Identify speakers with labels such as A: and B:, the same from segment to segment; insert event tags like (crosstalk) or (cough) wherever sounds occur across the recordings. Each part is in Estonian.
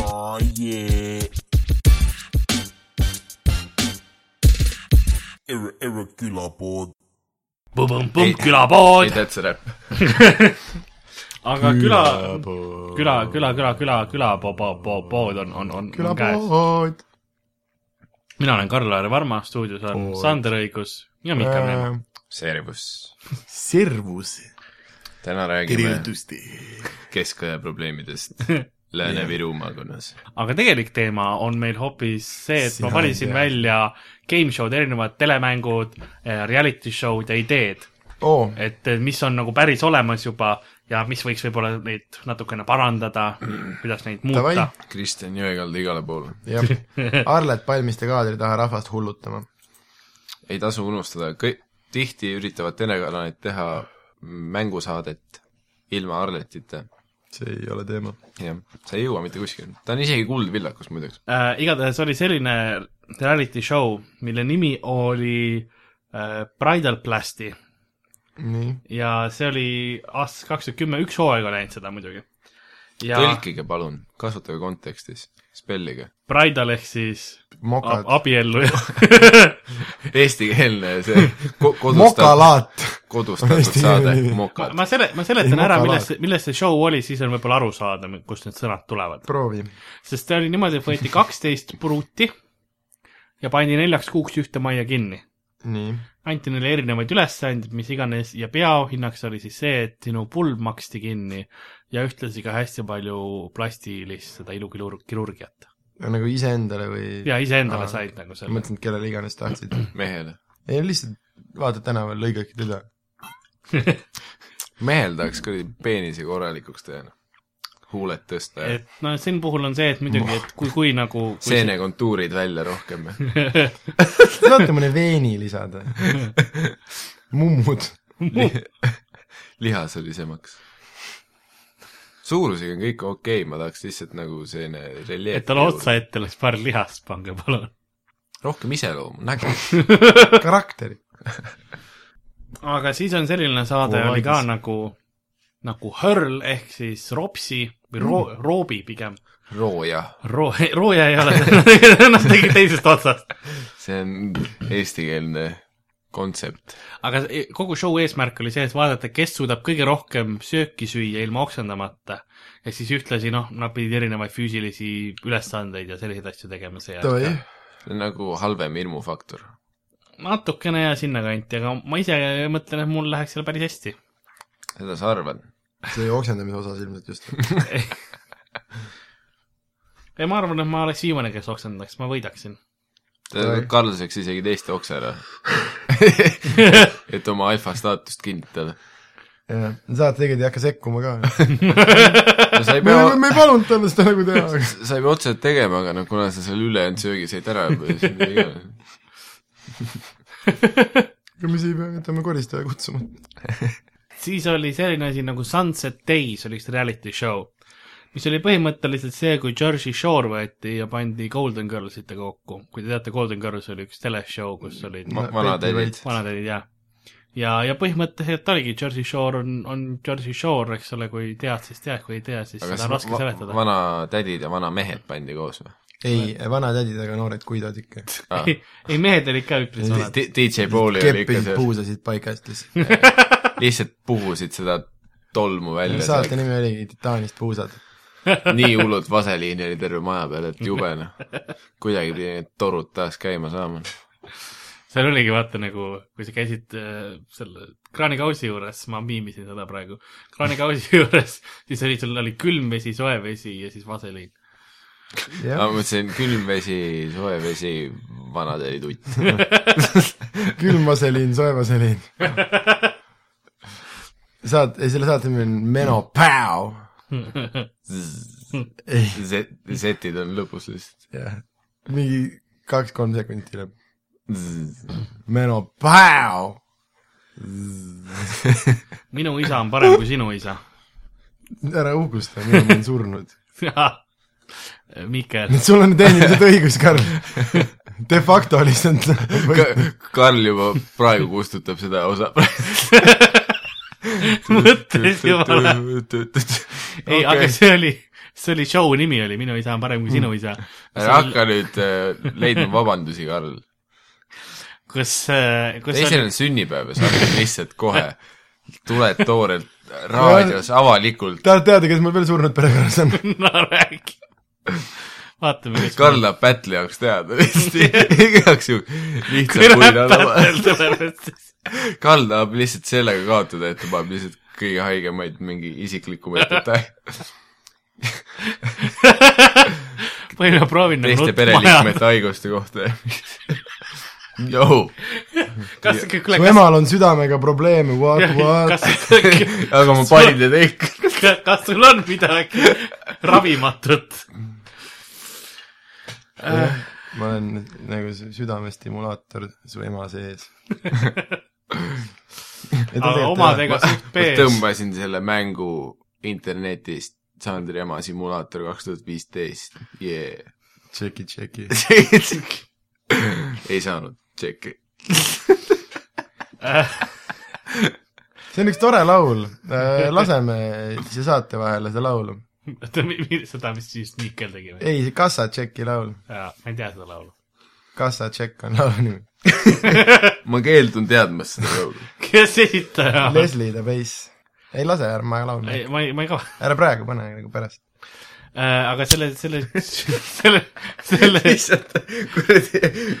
A: Oh yeah. Irre, irre külapood .
B: põmm-põmm-põmm ,
C: Ei- ei ,
B: külapood .
C: that's a rap .
B: aga küla , küla , küla , küla , küla , külapood on , on , on , on käes .
D: külapood .
B: mina olen Karl-Laar Varma , stuudios on
D: Pood.
B: Sander Õigus ja Mihkel Neem .
D: Äh,
C: Servus .
D: servus ,
C: täna räägime
D: tervitust .
C: keskaja probleemidest
B: (laughs)
C: Lääne-Viru maakonnas .
B: aga tegelik teema on meil hoopis see , et ma
D: Sina
B: valisin
D: ei tea.
B: välja game show'd , erinevad telemängud , reality show'd ja ideed ,
D: oo ,
B: et mis on nagu päris olemas juba ja mis võiks võib-olla neid natukene parandada , kuidas neid
D: Davai.
B: muuta .
C: Kristjan Jõekalda igale poole .
D: jah .
B: (laughs)
D: Arlet Palmiste kaadri taha rahvast hullutama .
C: ei tasu unustada , kõik , tihti üritavad telekanalid teha mängusaadet ilma Arletita .
D: see ei ole teema .
C: jah , sa ei jõua mitte kuskile . ta on isegi kuldvillakus muideks .
B: äh, igatahes oli selline reality show , mille nimi oli äh, Bridal Plasti
D: nii ,
B: ja see oli aastast kaks tuhat kümme , üks hooaeg on läinud seda muidugi . ja Tõlki.
C: tõlkige palun , kasutage kontekstis , spellige .
B: Bridal ehk siis
D: mokad
B: ab- . abielluja
C: Eestikeelne see ko- kodustatud ,
D: mokalaat .
C: kodustatud
D: Eesti
C: saade
D: nimi. ,
C: mokad .
B: (laughs) (laughs) ma selle , ma seletan
D: Ei,
B: ära ,
D: mokalaad.
B: millest , millest see show oli , siis on võib-olla aru saada , kust need sõnad tulevad .
D: proovi .
B: sest see oli niimoodi , et võeti kaksteist pruuti ja pandi neljaks kuuks ühte majja kinni
D: nii ,
B: anti neile erinevaid ülesandeid , mis iganes ja peahinnaks oli siis see , et sinu pulb maksti kinni ja ühtlasi ka hästi palju plastilist seda ilukirurgiat .
D: nagu iseendale või ?
B: ja iseendale
D: Aa,
B: said nagu selle .
D: mõtlesin , et kellele iganes tahtsid .
C: mehele .
D: ei , lihtsalt vaatad tänaval , lõigake teda .
C: mehel tahaks kuradi peenise korralikuks teha . huuled tõsta ja
B: et no siin puhul on see , et muidugi , et kui , kui nagu kui
C: seenekontuurid välja rohkem . (laughs)
D: Te saate mõne veeni lisada .
B: (laughs)
D: mummud .
C: lihaselisemaks . suurusega on kõik okei okay, , ma tahaks lihtsalt nagu selline reljeef .
B: et talle otsa . ette läks paar lihast , pange palun .
C: rohkem iseloomu , nägu .
D: karakteri .
B: aga siis on selline saade
D: Oo,
B: oli ka
D: vaidlus.
B: nagu , nagu hõrl ehk siis ropsi või roo- , roobi pigem .
C: rooja ,
B: Roo- , (laughs) rooja ei ole , (laughs) ennast tegi teisest otsast .
C: see on eestikeelne kontsept .
B: aga see- kogu show eesmärk oli see , et vaadata , kes suudab kõige rohkem sööki süüa ilma oksendamata . ja siis ühtlasi noh , nad pidid erinevaid füüsilisi ülesandeid ja selliseid asju tegema
D: davai
B: seejärel .,
C: nagu halvem hirmufaktor .
B: natukene ja sinnakanti , aga ma ise mõtlen , et mul läheks seal päris hästi .
C: seda sa arvad ?
D: see oksendamise osas ilmselt just .
B: ja ma arvan , et ma oleks viimane , kes oksendaks , ma võidaksin .
D: Oi.
C: Karl saaks isegi teiste oksa
B: (laughs)
C: ära . et oma alfa staatust
D: (laughs)
C: kinnitada .
D: jah , saate tegelikult ei hakka sekkuma ka .
C: sa ei
D: me ,
C: pea
D: me ei palunud talle seda nagu teha , aga (laughs)
C: sa ei pea otseselt tegema , aga noh , kuna sa selle ülejäänud söögi said ära
B: (laughs)
C: juba , siis ei ole .
D: aga me siis jätame koristaja kutsuma .
B: siis oli selline asi nagu Sunset Days oli üks reality show , mis oli põhimõtteliselt see , kui Jersey Shore võeti ja pandi Golden Girlsite kokku . kui te teate , Golden Girls oli üks teleshow , kus olid
C: Mm, Ma- vanad edid.
B: vanad olid jah . ja , ja põhimõtteliselt oligi , Jersey Shore on , on Jersey Shore , eks ole , kui tead , siis tead , kui ei tea , siis
C: aga
B: seda on
C: kas
B: raske
C: va
B: seletada .
C: vanatädid ja vanamehed pandi koos või ?
D: ei , vanad tädid aga noored kuidad ikka .
C: Ah.
B: (laughs) ei , mehed olid ka üpris vanad .
C: DJ Pauli oli ikka
D: kepid
C: seal ,
D: puusasid paigast
C: (laughs)
D: lihtsalt .
C: lihtsalt puhusid seda tolmu välja ,
D: saate nimi oligi Titaanist puusad .
C: nii hullult vaseliini oli terve maja peal , et jube noh .
B: (laughs)
C: kuidagi pidi need torud taas käima saama .
B: seal oligi vaata nagu , kui sa käisid äh, selle kraanikausi juures , ma miimisin seda praegu , kraanikausi (laughs) juures , siis oli , sul oli külm vesi , soe vesi ja siis vaseliin . (laughs)
C: ma
D: (laughs) jah ,
C: mõtlesin külm vesi , soe vesi , vanad olid utt .
D: külm vaseliin , soe vaseliin . saat- , ei selle saate nimi on Meno Päo . ei ,
C: Z- , Z-id on lõpus lihtsalt .
D: jah , mingi kaks-kolm sekundit hiljem . Meno Päo .
B: minu isa on parem kui sinu isa . (laughs)
D: ära uhkusta , mina olen surnud .
B: Miikel , (laughs)
D: sul on tehniliselt õigus , Karl . De facto lihtsalt .
C: Karl juba praegu kustutab seda osa (laughs)
B: mõtlesin juba . ei , aga see oli , see oli show nimi oli Minu isa on parem kui sinu isa .
C: Hmm. ära hakka nüüd äh, leidma vabandusi , Karl .
B: kas , kas see
C: teisel
B: äh, oli
C: on sünnipäev ja sa hakkad lihtsalt kohe , tuled toorelt raadios avalikult ,
D: tahad teada , kes mul veel surnud perekonnas on ?
B: no räägi . vaatame , kes
C: Karl läheb Pätli jaoks teada lihtsalt , igaks juhuks lihtsalt puid alla . Karl tahab lihtsalt sellega kaotada , et ta paneb lihtsalt kõige haigemaid mingi isiklikumaid detaile ,
B: ma ei ole proovinud
C: teiste pereliikmete . haiguste kohta . (laughs) Joo ,
B: kas , kuule ,
D: su
B: kas ,
D: emal on südamega probleeme , what , what ?
B: kas ,
C: (laughs) aga ma panin need kõik .
B: kas sul on midagi ravimatut ?
D: ma olen nagu sü- südamestimulaator su ema
B: (laughs)
D: sees .
B: aga omadega
C: (laughs)
B: suht
C: ma
B: pees .
C: tõmbasin selle mängu internetist , Sandri ema simulaator kaks tuhat viisteist , jee . (laughs)
D: tšeki , tšeki .
C: ei saanud tšeki .
D: see on üks tore laul , laseme siia saate vahele seda laulu .
B: oota , seda , mis siis Mihkel tegi või ?
D: ei , see Kassa tšeki laul ,
B: jaa , ma ei tea seda laulu .
D: Kassa tšekk on laulu nimi .
C: ma keeldun teadmast seda laulu .
B: kes esitaja on ?
D: Leslie the Bass . ei lase , ära , ma laulan .
B: ei , ma ei , ma ei kava- .
D: ära praegu pane , nagu pärast .
B: aga selle , selle , selle , selle ,
C: (laughs) lihtsalt kuradi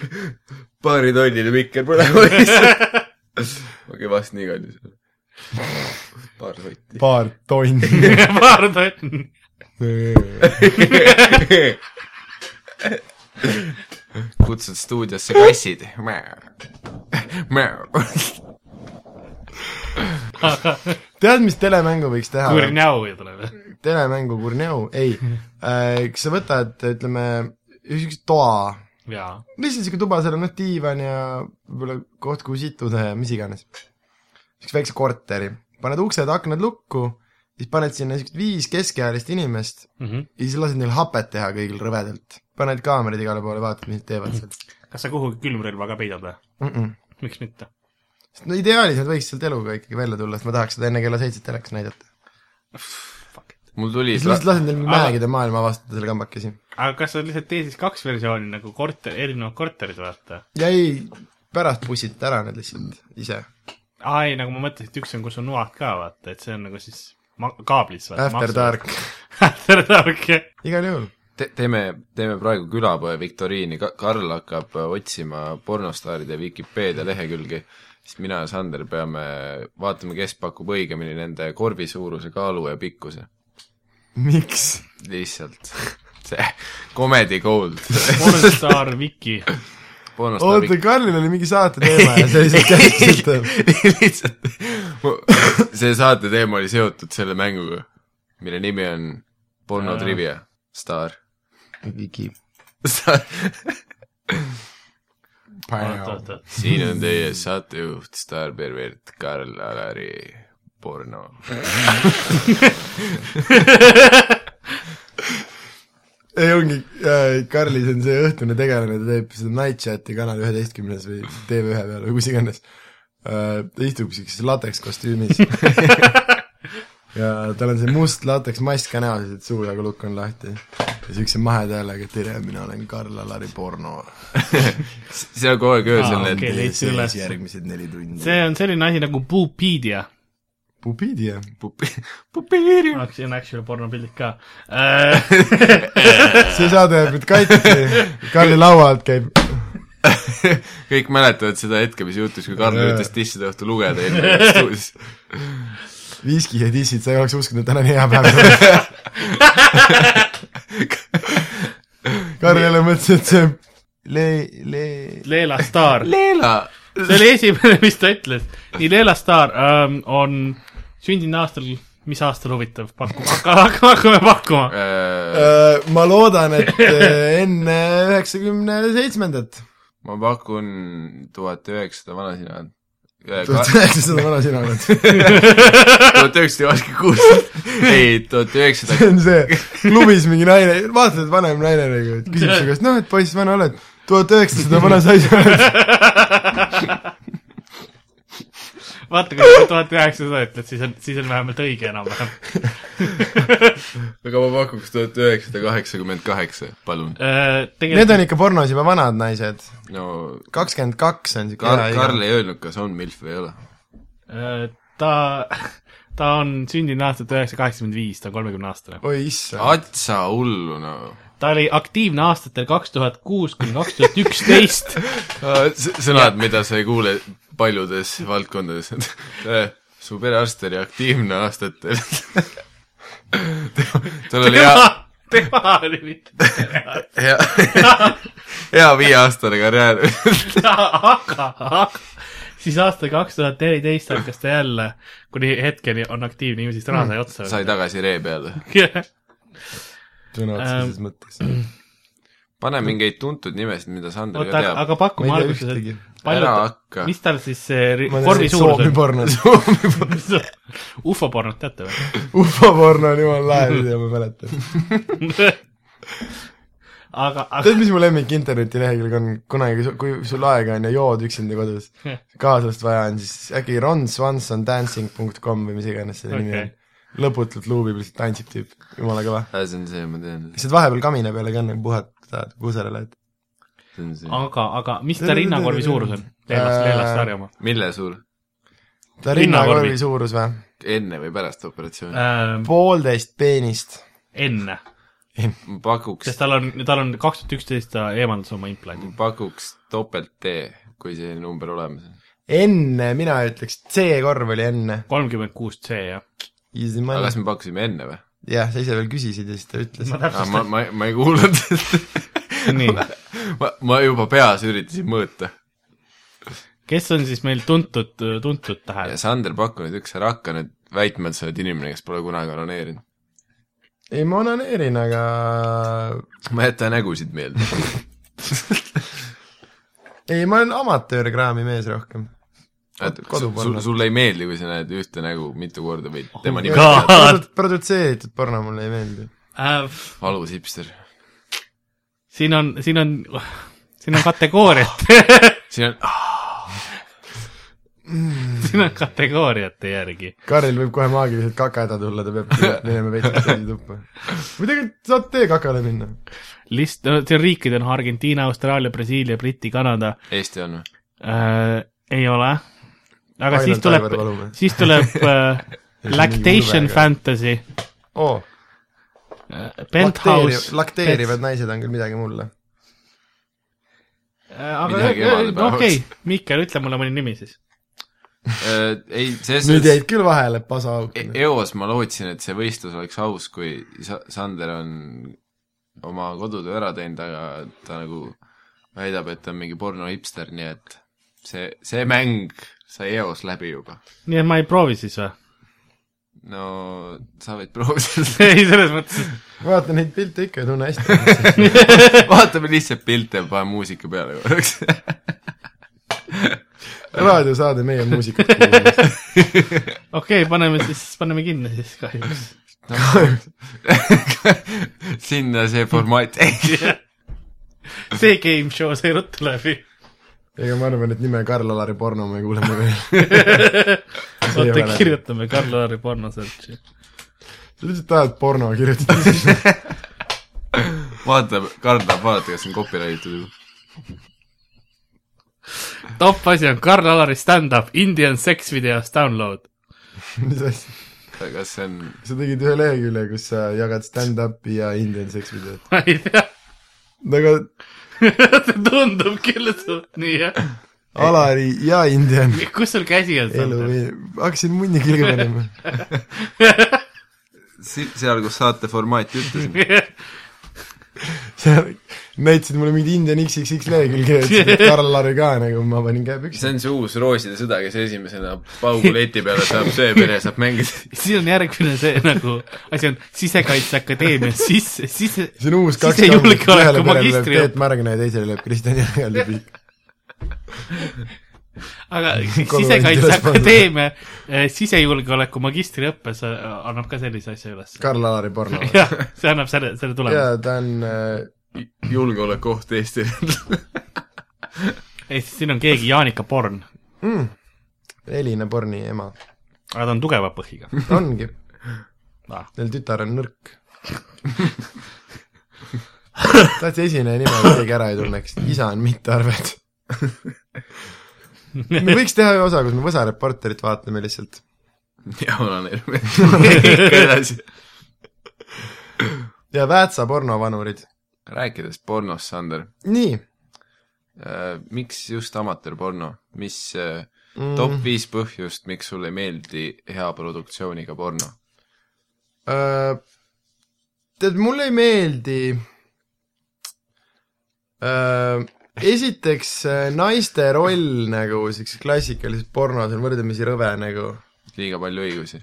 C: baaritollile mikker (laughs) põlema lihtsalt . ma kevasti nii kallis . paar sotti .
D: paar tonni .
B: (laughs) (laughs) paar tonni .
C: kutsud stuudiosse kassid .
D: tead , mis telemängu võiks teha ?
B: Kurnjau ja tuleb .
D: telemängu Kurnjau , ei . kas sa võtad , ütleme , niisuguse toa ,
B: jaa .
D: lihtsalt niisugune tuba , seal on noh , diivan ja võib-olla koht , kuhu situda ja mis iganes . niisuguse väikse korteri , paned uksed-aknad lukku , siis paned sinna niisugust viis keskealist inimest
B: Mhm.
D: ja siis lased neil hapet teha kõigil rõvedalt . paned kaamerad igale poole , vaatad , mis nad teevad seal
B: kas sa kuhugi külmrelva ka peidad või ?
D: mm . -mm.
B: miks mitte ?
D: sest no ideaalis nad võiks sealt eluga ikkagi välja tulla , sest ma tahaks seda enne kella seitset telekas näidata .
C: mul tuli
D: siis lihtsalt lasen neil
B: Aga-
D: mäegide maailma avastada selle kambakesi .
B: aga kas on lihtsalt teises kaks versiooni nagu korter , erinevad korterid vaata ?
D: ja ei , pärast bussitad ära need lihtsalt ise .
B: aa ei , nagu ma mõtlesin , et üks on , kus on noad ka vaata , et see on nagu siis ma- kaablis vaata .
D: After dark .
B: (laughs) After dark , jah .
D: igal juhul .
C: Te- , teeme , teeme praegu külapoe viktoriini , Karl hakkab otsima pornostaaride Vikipeedia lehekülgi , siis mina ja Sander peame , vaatame , kes pakub õigemini nende korvi suuruse , kaalu ja pikkuse .
D: miks ?
C: lihtsalt (laughs) see comedy gold .
B: Pornstar
D: (laughs)
B: Viki .
C: pornostaar (laughs)
D: oota , Karlil oli mingi saate teema ja see lihtsalt käis sealt .
C: Viki , lihtsalt see saate teema oli seotud selle mänguga , mille nimi on porno trivia , staar ,
D: Viki .
C: staar
B: oot , oot , oot .
C: siin on teie saatejuht , staarpervert Karl Alari porno .
D: ei ongi , Karlis on see õhtune tegelane , ta teeb seda Night Chati kanal üheteistkümnes või TV1 peal või kus iganes . ta istub siukses lateks
B: (laughs)
D: kostüümis . ja tal on see must lateks mask ka näos , et suu taga lukk on lahti . ja siukse maheda häälega , tere , mina olen Karl Alari porno .
C: (laughs) see on kogu aeg öösel
B: Aa,
C: need
B: okei.
C: okay.
B: leidsin üles.
D: järgmised neli tundi .
B: see on selline asi nagu Puupeedia .
D: pupiidia .
C: pupi- , pupiiri .
B: siin on actual pornopildid ka . Äh,
D: (laughs) see saade jääb nüüd katki . Karli laua alt käib .
C: kõik mäletavad seda hetke , mis juhtus , kui Karl
D: Jaa.
C: üritas tisside õhtu lugeda eelmine (laughs) stuudios .
D: viski ja dissid , sa ei oleks uskunud , et täna nii hea päev (laughs) tuleb . Karl jälle mõtles , et see le- , le- ,
B: Leela Star .
C: Leela .
B: see oli esimene , mis ta ütles . nii , Leela Star ähm, on sündinud aastal , mis aastal huvitav , (laughs) pakume , hakkame , hakkame
C: äh,
B: pakkuma .
D: Äh, ma loodan , et äh, enne üheksakümne seitsmendat ,
C: ma pakun tuhat üheksasada Äh, vana sina .
D: tuhat (laughs)
C: tuhat
D: üheksasada vana sina oled .
C: üheksasada kakskümmend kuus . ei , tuhat
D: (laughs) see
C: üheksasada ,
D: (laughs) on see , klubis mingi naine , vaatad , et vanem naine nagu , et küsib su käest , noh , et poiss , vana oled , tuhat üheksasada vana sa ise oled .
B: vaata , kui sa tuhat üheksasada ütled , siis on , siis on vähemalt õige enam-vähem .
C: aga ma pakuks tuhat üheksasada kaheksakümmend kaheksa , palun .
D: (laughs) Need
B: Äh, tegelikult
D: on ikka pornos juba vanad naised ,
C: no
D: kakskümmend kaks on siuke
C: Kar- ,
D: hea
C: Karl ei öelnud , kas on milf või ei ole .
B: äh, ta , ta on sündinud aastal tuhat üheksasada kaheksakümmend viis , ta on kolmekümne aastane .
D: oi
C: Äh,
D: issand ,
C: atsa hullu , no .
B: ta oli aktiivne aastatel kaks tuhat kuus kuni kaks tuhat üksteist .
C: Äh, sõnad , mida sa ei kuule paljudes valdkondades .
B: (laughs)
C: su perearst oli
B: (laughs)
C: aktiivne aastatel . tal (laughs) oli hea ,
B: tema , tema oli mitte ,
C: hea , (laughs) hea viieaastane karjäär . (laughs)
B: aga , aga siis aastal kaks tuhat neliteist hakkas ta jälle , kuni hetkeni on aktiivne , ju siis raha sai otsa .
C: sai tagasi ree peale .
D: sõna otseses mõttes .
C: pane mingeid tuntud nimesid , mida Sander
B: (laughs)
C: ka
B: oota ,
C: teab .
B: aga paku
D: Ma
B: mulle
D: ei tea
B: alguses
D: ühtegi. ,
B: et palju ,
C: ära hakka .
B: mis tal siis see ri-
D: ma
B: vormi
D: tean ,
B: suurus
D: Soomi
B: on ? (laughs)
D: pornos ,
B: ufopornot teate või ?
D: ufoporno on jumala lahe video , ma
B: (laughs)
D: mäletan .
B: aga , aga
D: tead , mis mu lemmik internetilehekülg on , kunagi , kui sul aega on ja jood üksinda kodus , kaaslast vaja on , siis äkki ronswansondancing.com või mis iganes selle nimi on
B: Okei. .
D: lõputult luubib , lihtsalt tantsib tüüp , jumala kõva .
C: Äh, see on see , ma tean ,
D: lihtsalt vahepeal kamine peale ka nagu puhata , tahad , kusagile lähed .
C: see on see .
B: aga , aga mis ta rinnakorvi suurus on ? Leelast , Leelast Saare oma .
C: mille sul ?
D: ta
B: Rinnakorvi.
D: rinnakorvi suurus või ?
C: enne või pärast operatsiooni ?
B: Äh, Ähm,
D: poolteist peenist .
B: enne ,
C: ma pakuks
B: sest , tal on , tal on kaks tuhat üksteist ta eemaldas oma implanti
C: ma . pakuks topelt D , kui see number olemas on .
D: enne , mina ütleks , C-korv oli enne .
B: kolmkümmend kuus C jah .
D: Easy
C: aga
D: money
C: kas . me pakkusime enne või ?
D: jah , sa ise veel küsisid ja siis ta ütles .
B: ma
C: ma ,
B: täpsustan ,
C: ma , ma ei kuulnud , (laughs)
B: nii .
C: ma , ma juba peas üritasin mõõta .
B: kes on siis meil tuntud , tuntud
C: ja
B: tähed ?
C: Sander , paku nüüd üks , ära hakka nüüd väitma , et sa oled inimene , kes pole kunagi onaneerinud .
D: ei , ma onaneerin , aga
C: ma ei jäta nägusid meelde .
D: ei , ma olen amatöörkraami mees rohkem .
C: sul , sulle ei meeldi , kui sa näed ühte nägu mitu korda või tema nimi
B: God. .
D: produtseeritud porno mulle ei meeldi .
C: valus hipster .
B: Ähm, siin on , siin on , siin on kategooriad ,
C: siin on ,
B: (laughs)
C: ah,
B: siin on kategooriate järgi .
D: Karlil võib kohe maagiliselt kaka häda tulla , ta
B: (laughs)
D: peab minema veits teise tuppa . või tegelikult saad tee kakale minna .
B: list , siin riikid on Argentiina , Austraalia , Brasiilia , Briti , Kanada
C: Eesti on või ?
B: äh, . ei ole . aga siis
D: Ainult
B: tuleb
D: Aivar Palumäe. ,
B: siis
D: (laughs)
B: tuleb äh, Lactation Fantasy
D: oo ,
B: äh, , Penthouse .
D: lakteerivad naised on küll midagi mulle .
B: Äh, aga
C: Midagi emadepäevaks.
B: okei , Mihkel , ütle mulle mõni nimi siis .
C: Äh, ei , selles
D: nüüd
C: suhtes
D: jäid küll vahele , pasa
C: E-
D: auku .
C: eos ma lootsin , et see võistlus oleks aus , kui Sa- Sander on oma kodutöö ära teinud , aga ta nagu väidab , et ta on mingi pornohipster , nii et see , see mäng sai eos läbi juba .
B: nii et ma ei proovi siis või ? (laughs)
C: no sa võid proovida ,
B: ei , selles mõttes ,
D: vaata neid pilte ikka ei tunne
C: (laughs)
D: hästi .
C: vaatame lihtsalt pilte ja paneme muusika peale (laughs) korraks .
D: raadiosaade Meie muusikud kuulavad .
B: okei okay, , paneme siis , paneme kinni siis kahjuks .
C: sinna see formaat jäi .
B: see game show sai ruttu
D: (laughs)
B: läbi .
D: ega ma arvan , et nime Karl-Alari porno me kuuleme veel . ei ole
B: (laughs) oota ,
D: läbi.
B: kirjutame Karl-Laari porno search'i .
D: sa lihtsalt tahad porno kirjutada . (laughs)
C: vaata , Karl tahab vaadata , kas see on copyright itud juba .
B: top asi on Karl-Alari stand-up Indian sex videos download . (laughs)
D: mis asja ?
C: kas see on ,
D: sa tegid ühe lehekülje , kus sa jagad stand-up'i ja Indian sex videot .
B: ma ei tea , (laughs)
D: no aga
B: tundub küll , et see on nii jah .
D: Alari ja (laughs) Indian
B: (laughs) kus sul käsi on
D: elu
B: seal ?
D: või , hakkasin munni kilga panema .
C: si- seal , kus saate formaati ütlesin ,
D: sa näitasid mulle mingit Indian XXX lehekülge , ütlesid , et Karl-Alari ka nagu , ma panin käe püksi .
C: (laughs) see on see uus Rooside sõda , kes esimesena paugu leti peale saab , see (laughs) pere saab mängida .
B: siis on järgmine see nagu , asi on Sisekaitseakadeemias sisse , sisse ,
D: see on uus kaks
B: Sisejulgeoleku
D: ühele perele lööb
B: magistri-
D: Teet Märgna ja teisele lööb Kristjan Järvel (laughs) piik .
B: aga
D: Sisekaitseakadeemia,
B: Sisekaitseakadeemia sisejulgeoleku magistriõppes annab ka sellise asja üles .
D: Karl-Alari porno .
B: (laughs) jah , see annab selle , selle tulemuse .
D: jaa , ta on äh,
C: julgeolekuoht (laughs) Eestile .
B: ei , siin on keegi Jaanika Porn ,
D: Elina Porni ema .
B: aga ta on tugeva põhiga .
D: ongi ,
B: aa ,
D: tal tütar on nõrk . (laughs) tahtsin esineja nime , et keegi ära ei tunneks , isa on mitte arvet . me võiks teha ühe osa , kus me Võsa Reporterit vaatame lihtsalt .
C: ja onaneerime (laughs) ikka edasi .
D: ja Väätsa pornovanurid .
C: rääkides pornost , Sander ,
D: nii
C: miks just amatöörporno , mis äh,
D: mm, .
C: top viis põhjust , miks sulle ei meeldi hea produktsiooniga porno ?
D: Öö, Äh, tead , mulle ei meeldi öö, esiteks äh, naiste roll nagu siukses klassikalises pornos on võrdlemisi rõve nagu .
C: liiga palju õigusi .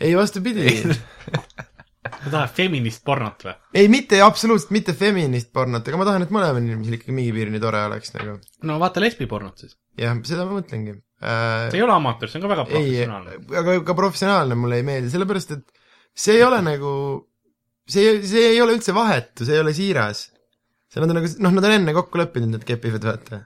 D: ei , vastupidi .
B: sa tahad feminist pornot või ?
D: ei , mitte , absoluutselt mitte feminist pornot , aga ma tahan , et mõlemal inimesel ikkagi mingi piirini tore oleks nagu .
B: no vaata lesbipornot siis .
D: jah , seda ma mõtlengi .
B: see ei ole amatöör , see on ka väga
D: ei , eh,
B: professionaalne .
D: aga ka professionaalne mulle ei meeldi , sellepärast et see ei ole nagu , see , see ei ole üldse vahetu , see ei ole siiras . see nad on nagu , noh , nad on enne kokku leppinud , et nad kepivad , vaata .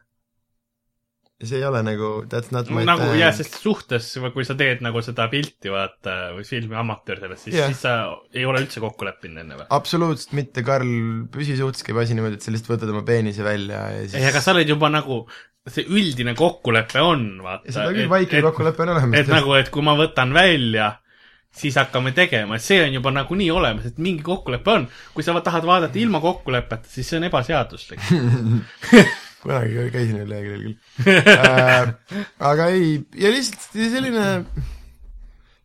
D: see ei ole nagu that's not my
B: nagu jah ,
D: time .
B: sest suhtes , kui sa teed nagu seda pilti , vaata , või filmi amatöör sellest , siis
D: Jah.
B: yeah. , siis sa ei ole üldse kokku leppinud enne või ?
D: absoluutselt mitte , Karl , püsisuhtes käib asi niimoodi , et sa lihtsalt võtad oma peenise välja ja
B: ei , aga
D: siis
B: sa oled juba nagu , see üldine kokkulepe on , vaata .
D: seda küll , vaikne kokkulepe on
B: et
D: olemas .
B: nagu , et kui ma võtan välja , siis hakkame tegema , et see on juba nagunii olemas , et mingi kokkulepe on . kui sa va- tahad vaadata
D: Mm.
B: ilma kokkuleppeta , siis see on
D: (laughs)
B: ebaseaduslik .
D: kunagi käisin üle
B: (laughs)
D: leheküljel küll . Äh, aga ei , ja lihtsalt selline ,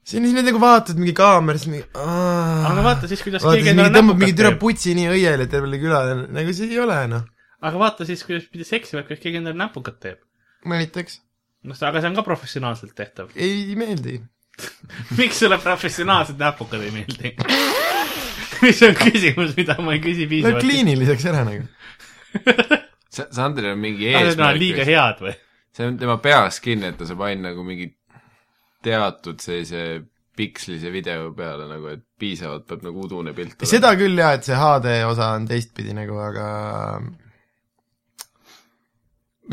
D: see on siis nagu vaatad mingi kaamerasse , mingi aa.
B: aga vaata siis , kuidas
D: vaata ,
B: keegi
D: siis mingi
B: endale
D: tõmbab mingi
B: näpukat
D: türa
B: teeb .
D: putsi nii õiele tervele külale , nagu see ei ole noh ,
B: aga vaata siis , kuidas pidi seksima , kuidas keegi endale näpukat teeb .
D: näiteks
B: noh , aga see on ka professionaalselt tehtav . (laughs)
D: ei meeldi .
B: miks sulle professionaalsed näpukad ei meeldi ? (laughs) mis on küsimus , mida ma ei küsi
D: Läheb
B: piisavalt . (laughs)
D: kliiniliseks ära nagu .
C: Sandril on mingi
B: Nad on liiga
C: eesmärk ,
B: head või ?
C: see on tema peas kinni , et ta saab ainult nagu mingi teatud sellise pikslise video peale nagu , et piisavalt peab nagu udune pilt
D: seda küll jaa , et see HD osa on teistpidi nagu , aga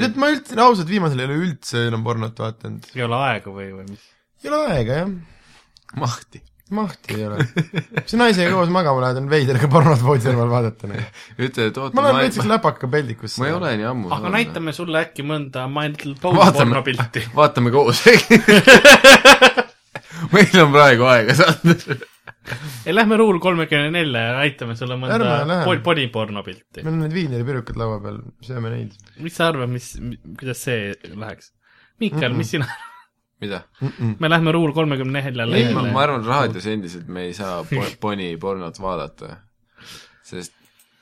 D: tead , ma üldse , ausalt , viimasel ei ole üldse enam pornot vaadanud .
B: ei ole aega või , või mis ?
D: ei ole aega jah ,
C: mahti .
D: mahti ei ole . see naisega koos magama lähed , on veider ka pornot voodi kõrval vaadata nagu .
C: ütle , et oota ,
D: ma
C: ma
D: lähen
C: ei
D: näiteks , läpaka peldikusse .
C: ma ei ole nii ammu
B: aga . näitame sulle äkki mõnda My Little Pony
C: vaatame
B: pornopilti .,
D: (laughs)
C: vaatame koos . meil on praegu aega , Sander .
B: ei , lähme Ruul kolmekümne nelja ja näitame sulle
D: Ärme
B: mõnda
D: lähe.
B: pol- poniporno pilti .
D: meil on need viineripirukad laua peal , sööme neid
B: mis sa arvad , mis , kuidas see läheks ? Mihkel mm , -mm. mis sina ,
C: mida ?
D: mm . -mm.
B: me lähme Ruul kolmekümne neljale
C: ei , ma , ma arvan , raadios endiselt me ei saa po- ponipornot vaadata . sest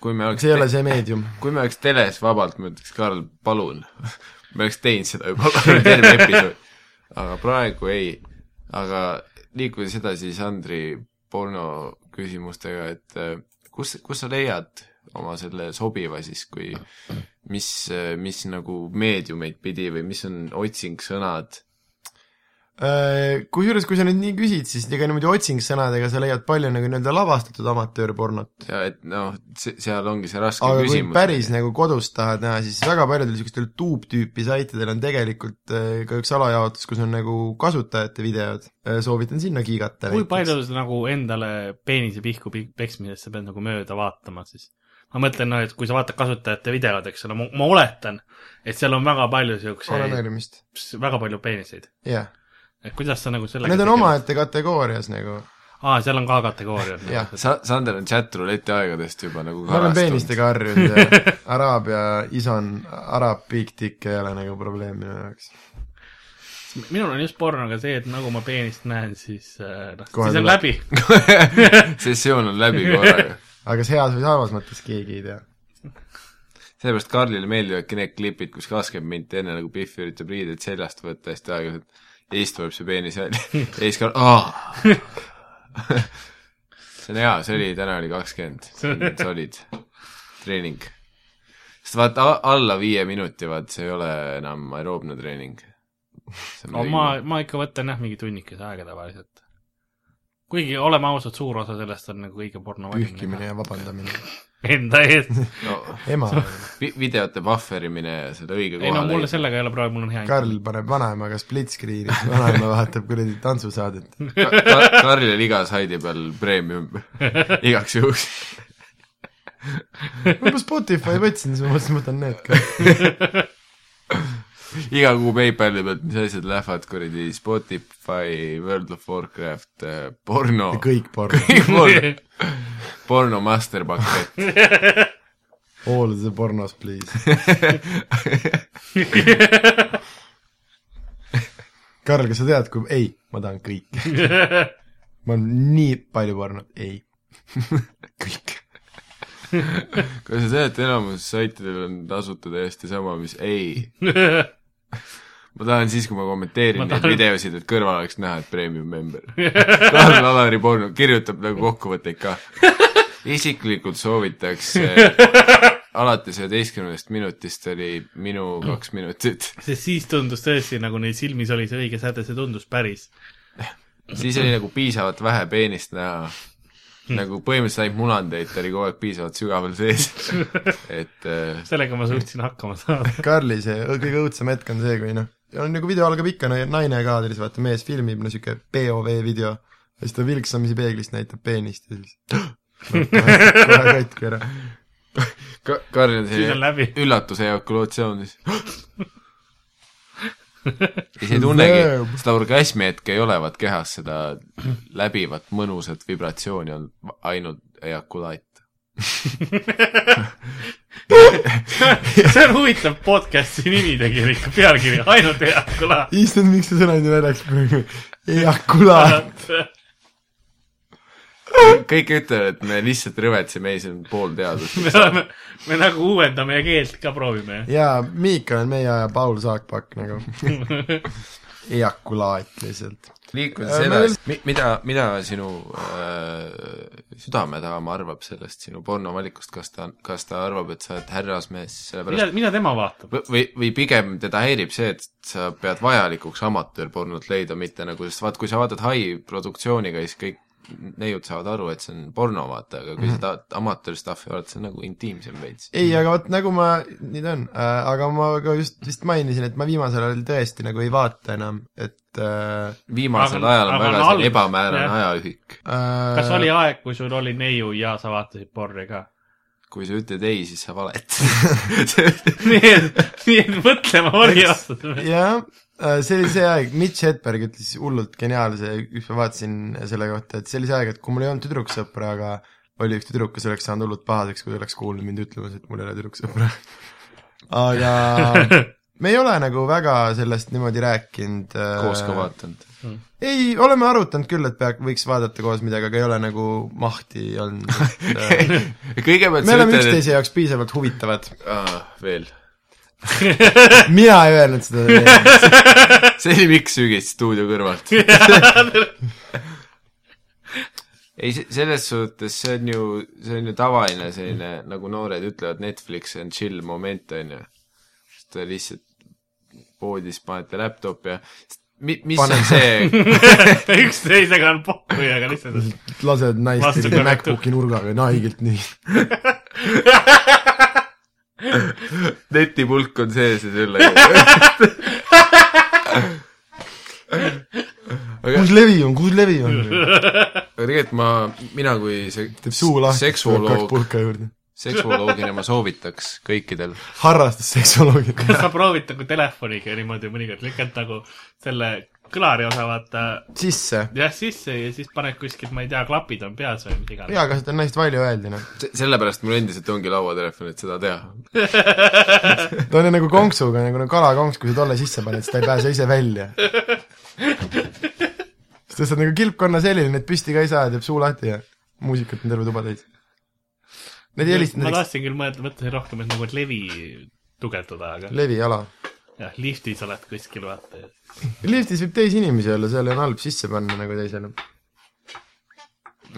C: kui me oleks
D: see ei ole , see meedium .
C: kui me oleks teles vabalt , ma ütleks , Karl , palun . (laughs) me oleks teinud seda
D: (laughs)
C: juba (laughs) terve episood . aga praegu ei . aga liikudes edasi Sandri porno küsimustega , et äh, kus , kus sa leiad oma selle sobiva siis , kui mis , mis nagu meediumeid pidi või mis on otsingsõnad ,
D: Äh, Kusjuures , kui sa nüüd nii küsid , siis ega niimoodi otsingsõnadega sa leiad palju nagu nii-öelda lavastatud amatöörpornot .
C: et noh , seal ongi see raske
D: aga kui
C: küsimus .
D: päris nagu kodus tahad näha , siis väga paljudel niisugustel tuubtüüpi saitidel on tegelikult äh, ka üks alajaotus , kus on nagu kasutajate videod . soovitan sinna kiigata
B: kui palju sa nagu endale peenise pihku pi- peksmisest sa pead nagu mööda vaatama siis ? ma mõtlen , no et kui sa vaatad kasutajate videod , eks ole , ma oletan , et seal on väga palju siukseid ,
D: oleneerimist ,
B: väga palju peeniseid .
D: jah .
B: et kuidas sa nagu sellega
D: Need on . omaette kategoorias nagu ,
B: aa , seal on ka kategooriad .
D: jah .
C: sa , Sander on chat-rouleti aegadest juba nagu
D: nagu- ma olen
C: karastunud .
D: peenistega harjunud ja araabia isan , araab big dick ei ole nagu probleem minu jaoks .
B: minul on just pornoga see , et nagu ma peenist näen , siis äh, noh ,
D: Kohe
B: siis on
D: tuleb.
B: läbi .
C: (laughs)
D: (laughs)
C: sessioon on läbi korraga
D: aga kas heas või halvas mõttes keegi ei tea
C: sellepärast Karlile meeldivadki need klipid , kus kakskümmend minti enne nagu Pihv üritab riided seljast võtta hästi aeglaselt ja siis tuleb see peenis välja
D: (laughs)
C: ja siis Karl , aa . (laughs) see on hea , see oli , täna oli kakskümmend , sa olid , treening . sest vaata , alla viie minuti , vaata , see ei ole enam aeroobne treening . nagu
B: ma , ma ikka võtan jah , mingi tunnikese aega tavaliselt . kuigi oleme ausad , suur osa sellest on nagu kõige porno
D: pühkimine . ja vabandamine .
B: Enda
D: (laughs)
B: eest .
C: no
D: ema ,
C: vi- videote puhverimine ja selle õige
B: ei no
C: koha
B: mul
C: leidmine .
B: sellega ei ole praegu , mul on hea . (laughs)
D: Karl paneb vanaemaga split screen'i , vanaema vaatab kuradi tantsusaadet .
C: Karlil iga saidi peal
B: (laughs)
C: preemium igaks juhuks .
D: ma Spotify võtsin , siis ma mõtlesin , ma võtan need ka .
C: iga kuu PayPali pealt , mis asjad lähevad , kuradi Spotify , World of Warcraft , porno .
D: kõik porno ,
C: (laughs) porno , porno masterpakett .
D: all the pornos please . Karl , kas sa tead , kui , ei , ma tahan kõike . ma olen nii palju pornot , ei . kõik .
C: kas sa tead , et enamus saitidel on tasuta täiesti sama , mis
B: (laughs)
C: ei ? ma tahan siis , kui ma kommenteerin
B: Ma
C: neid
B: tahan-
C: videosid , et kõrval oleks näha , et premium member . (laughs) Karl Alari porno kirjutab nagu kokkuvõtteid
B: (laughs)
C: ka . isiklikult soovitaks eh, alates üheteistkümnest minutist oli minu kaks minutit ,
B: sest siis tundus tõesti , nagu neil silmis oli see õige säde , see tundus päris .
C: siis oli nagu piisavalt vähe peenist näha , nagu põhimõtteliselt ainult munandeid oli kogu aeg piisavalt sügaval sees ,
B: (laughs)
C: et eh,
B: sellega ma suutsin hakkama saada .
D: Karli see õ- kõige õudsem hetk on see , kui noh , on nagu video algab ikka na- naine kaadris , vaata mees filmib , no siuke POV video , ja siis ta vilksamisi peeglist näitab peenist ja siis (gasps) no, kohe kohe katki ära .
C: Ka- , Karl on
B: Siis on läbi.
C: selline
D: (laughs)
C: üllatuse ejakulatsioon siis . ja sa ei tunnegi , seda orgasmi hetke ei ole , vaat kehas seda läbivat mõnusat vibratsiooni on va- ainult ejakulaat .
B: see on huvitav podcast'i nimi tegelikult , pealkiri , ainult hea kõla .
D: issand , miks see sõna nii naljaks praegu , ah, ejakulaat .
C: kõik ütlevad , et me lihtsalt rõvetseme , ei see on poolteadus .
B: (laughs) me oleme , me nagu uuendame ja keelt ka proovime .
D: jaa , Miika on meie aja Paul Saakpakk
B: (laughs)
D: nagu . ejakulaat lihtsalt .
C: liikudes
D: Äh,
C: edasi me... , mida , mida sinu äh, südamedama arvab sellest sinu pornovalikust , kas ta , kas ta arvab , et sa oled härrasmees , sellepärast
B: mida , mida tema vaatab ?
C: Võ- või , või pigem teda häirib see , et sa pead vajalikuks amatöörpornot leida , mitte nagu , sest vaat kui sa vaatad hai produktsiooniga , siis kõik neiud saavad aru , et see on porno , vaata , aga kui sa tahad amatöör-stuff'i vaadata , see on nagu intiimsem veits .
D: ei , aga vot nagu ma , nii ta on äh, , aga ma ka just vist mainisin , et ma viimasel ajal tõesti nagu ei vaata enam , et äh,
C: viimasel
B: Aga-
C: ajal on
B: aga
C: väga
B: on
C: see
B: algus,
C: ebamäärane
B: jah.
C: ajaühik .
B: kas oli aeg , kui sul oli neiu ja sa vaatasid porri ka ?
C: kui sa ütled ei , siis sa valetad .
B: (laughs) nii et , nii et mõtlema oli aastas .
D: jah , see oli see aeg , Mitch Hedberg ütles hullult geniaalse , üks ma vaatasin selle kohta , et see oli see aeg , et kui mul ei olnud tüdruksõpra , aga oli üks tüdruk , kes oleks saanud hullult pahaseks , kui ta oleks kuulnud mind ütlemas , et mul ei ole tüdruksõpra . aga me ei ole nagu väga sellest niimoodi rääkinud .
C: koos ka vaatanud .
D: ei , oleme arutanud küll , et pea , võiks vaadata koos midagi , aga ei ole nagu mahti olnud .
C: (laughs)
D: me
C: kõigepealt sa
D: oleme
C: ütled , et
D: üksteise jaoks piisavalt huvitavad .
C: Aa, veel .
D: mina ei öelnud seda .
C: see oli Mikk Sügis stuudio kõrvalt .
D: (laughs)
C: ei , selles suhtes see on ju , see on ju tavaline selline , nagu noored ütlevad , Netflix and chill moment on ju . ta lihtsalt poodis panete laptopi ja mi, mis Pane. on see ,
D: (laughs)
B: üksteisega on pohhu ja ka (laughs) lihtsalt .
D: lased naist
B: Vastu
D: niimoodi
B: kõnetu.
D: MacBooki nurgaga , no haigelt nii .
C: netipulk on sees ja
D: (laughs)
C: selle .
D: kus levi on , kus levi on ?
C: aga tegelikult ma , mina kui see
D: teeb suu lahti , kaks
C: seksuoloog ,
D: pulka juurde .
C: seksuoloogina ma soovitaks kõikidel
D: harrastusseksuoloogid .
B: sa proovid nagu telefoniga niimoodi mõnikord lükata nagu selle kõlari osa vaata
D: sisse .
B: jah sisse ja siis paned kuskilt , ma ei tea , klapid on peas või mis iganes .
D: jaa , aga seda on hästi palju öeldi , noh .
C: Se- sellepärast mul endiselt ongi lauatelefon , et seda teha .
D: ta on ju nagu konksuga , nagu no kalakonks , kui sa tolle sisse paned , siis ta ei pääse ise välja . siis tõstad nagu kilpkonna selili , need püsti ka ei saa , teeb suu lahti ja muusikat on terve tuba täis . Need ei helista
B: ma
D: näiteks
B: tahtsin küll mõelda , mõtlesin rohkem , et nagu et levi tugevdada , aga
D: leviala .
B: jah , liftis oled kuskil vaata ja
D: liftis võib teisi inimesi olla , seal on halb sisse panna nagu teisele .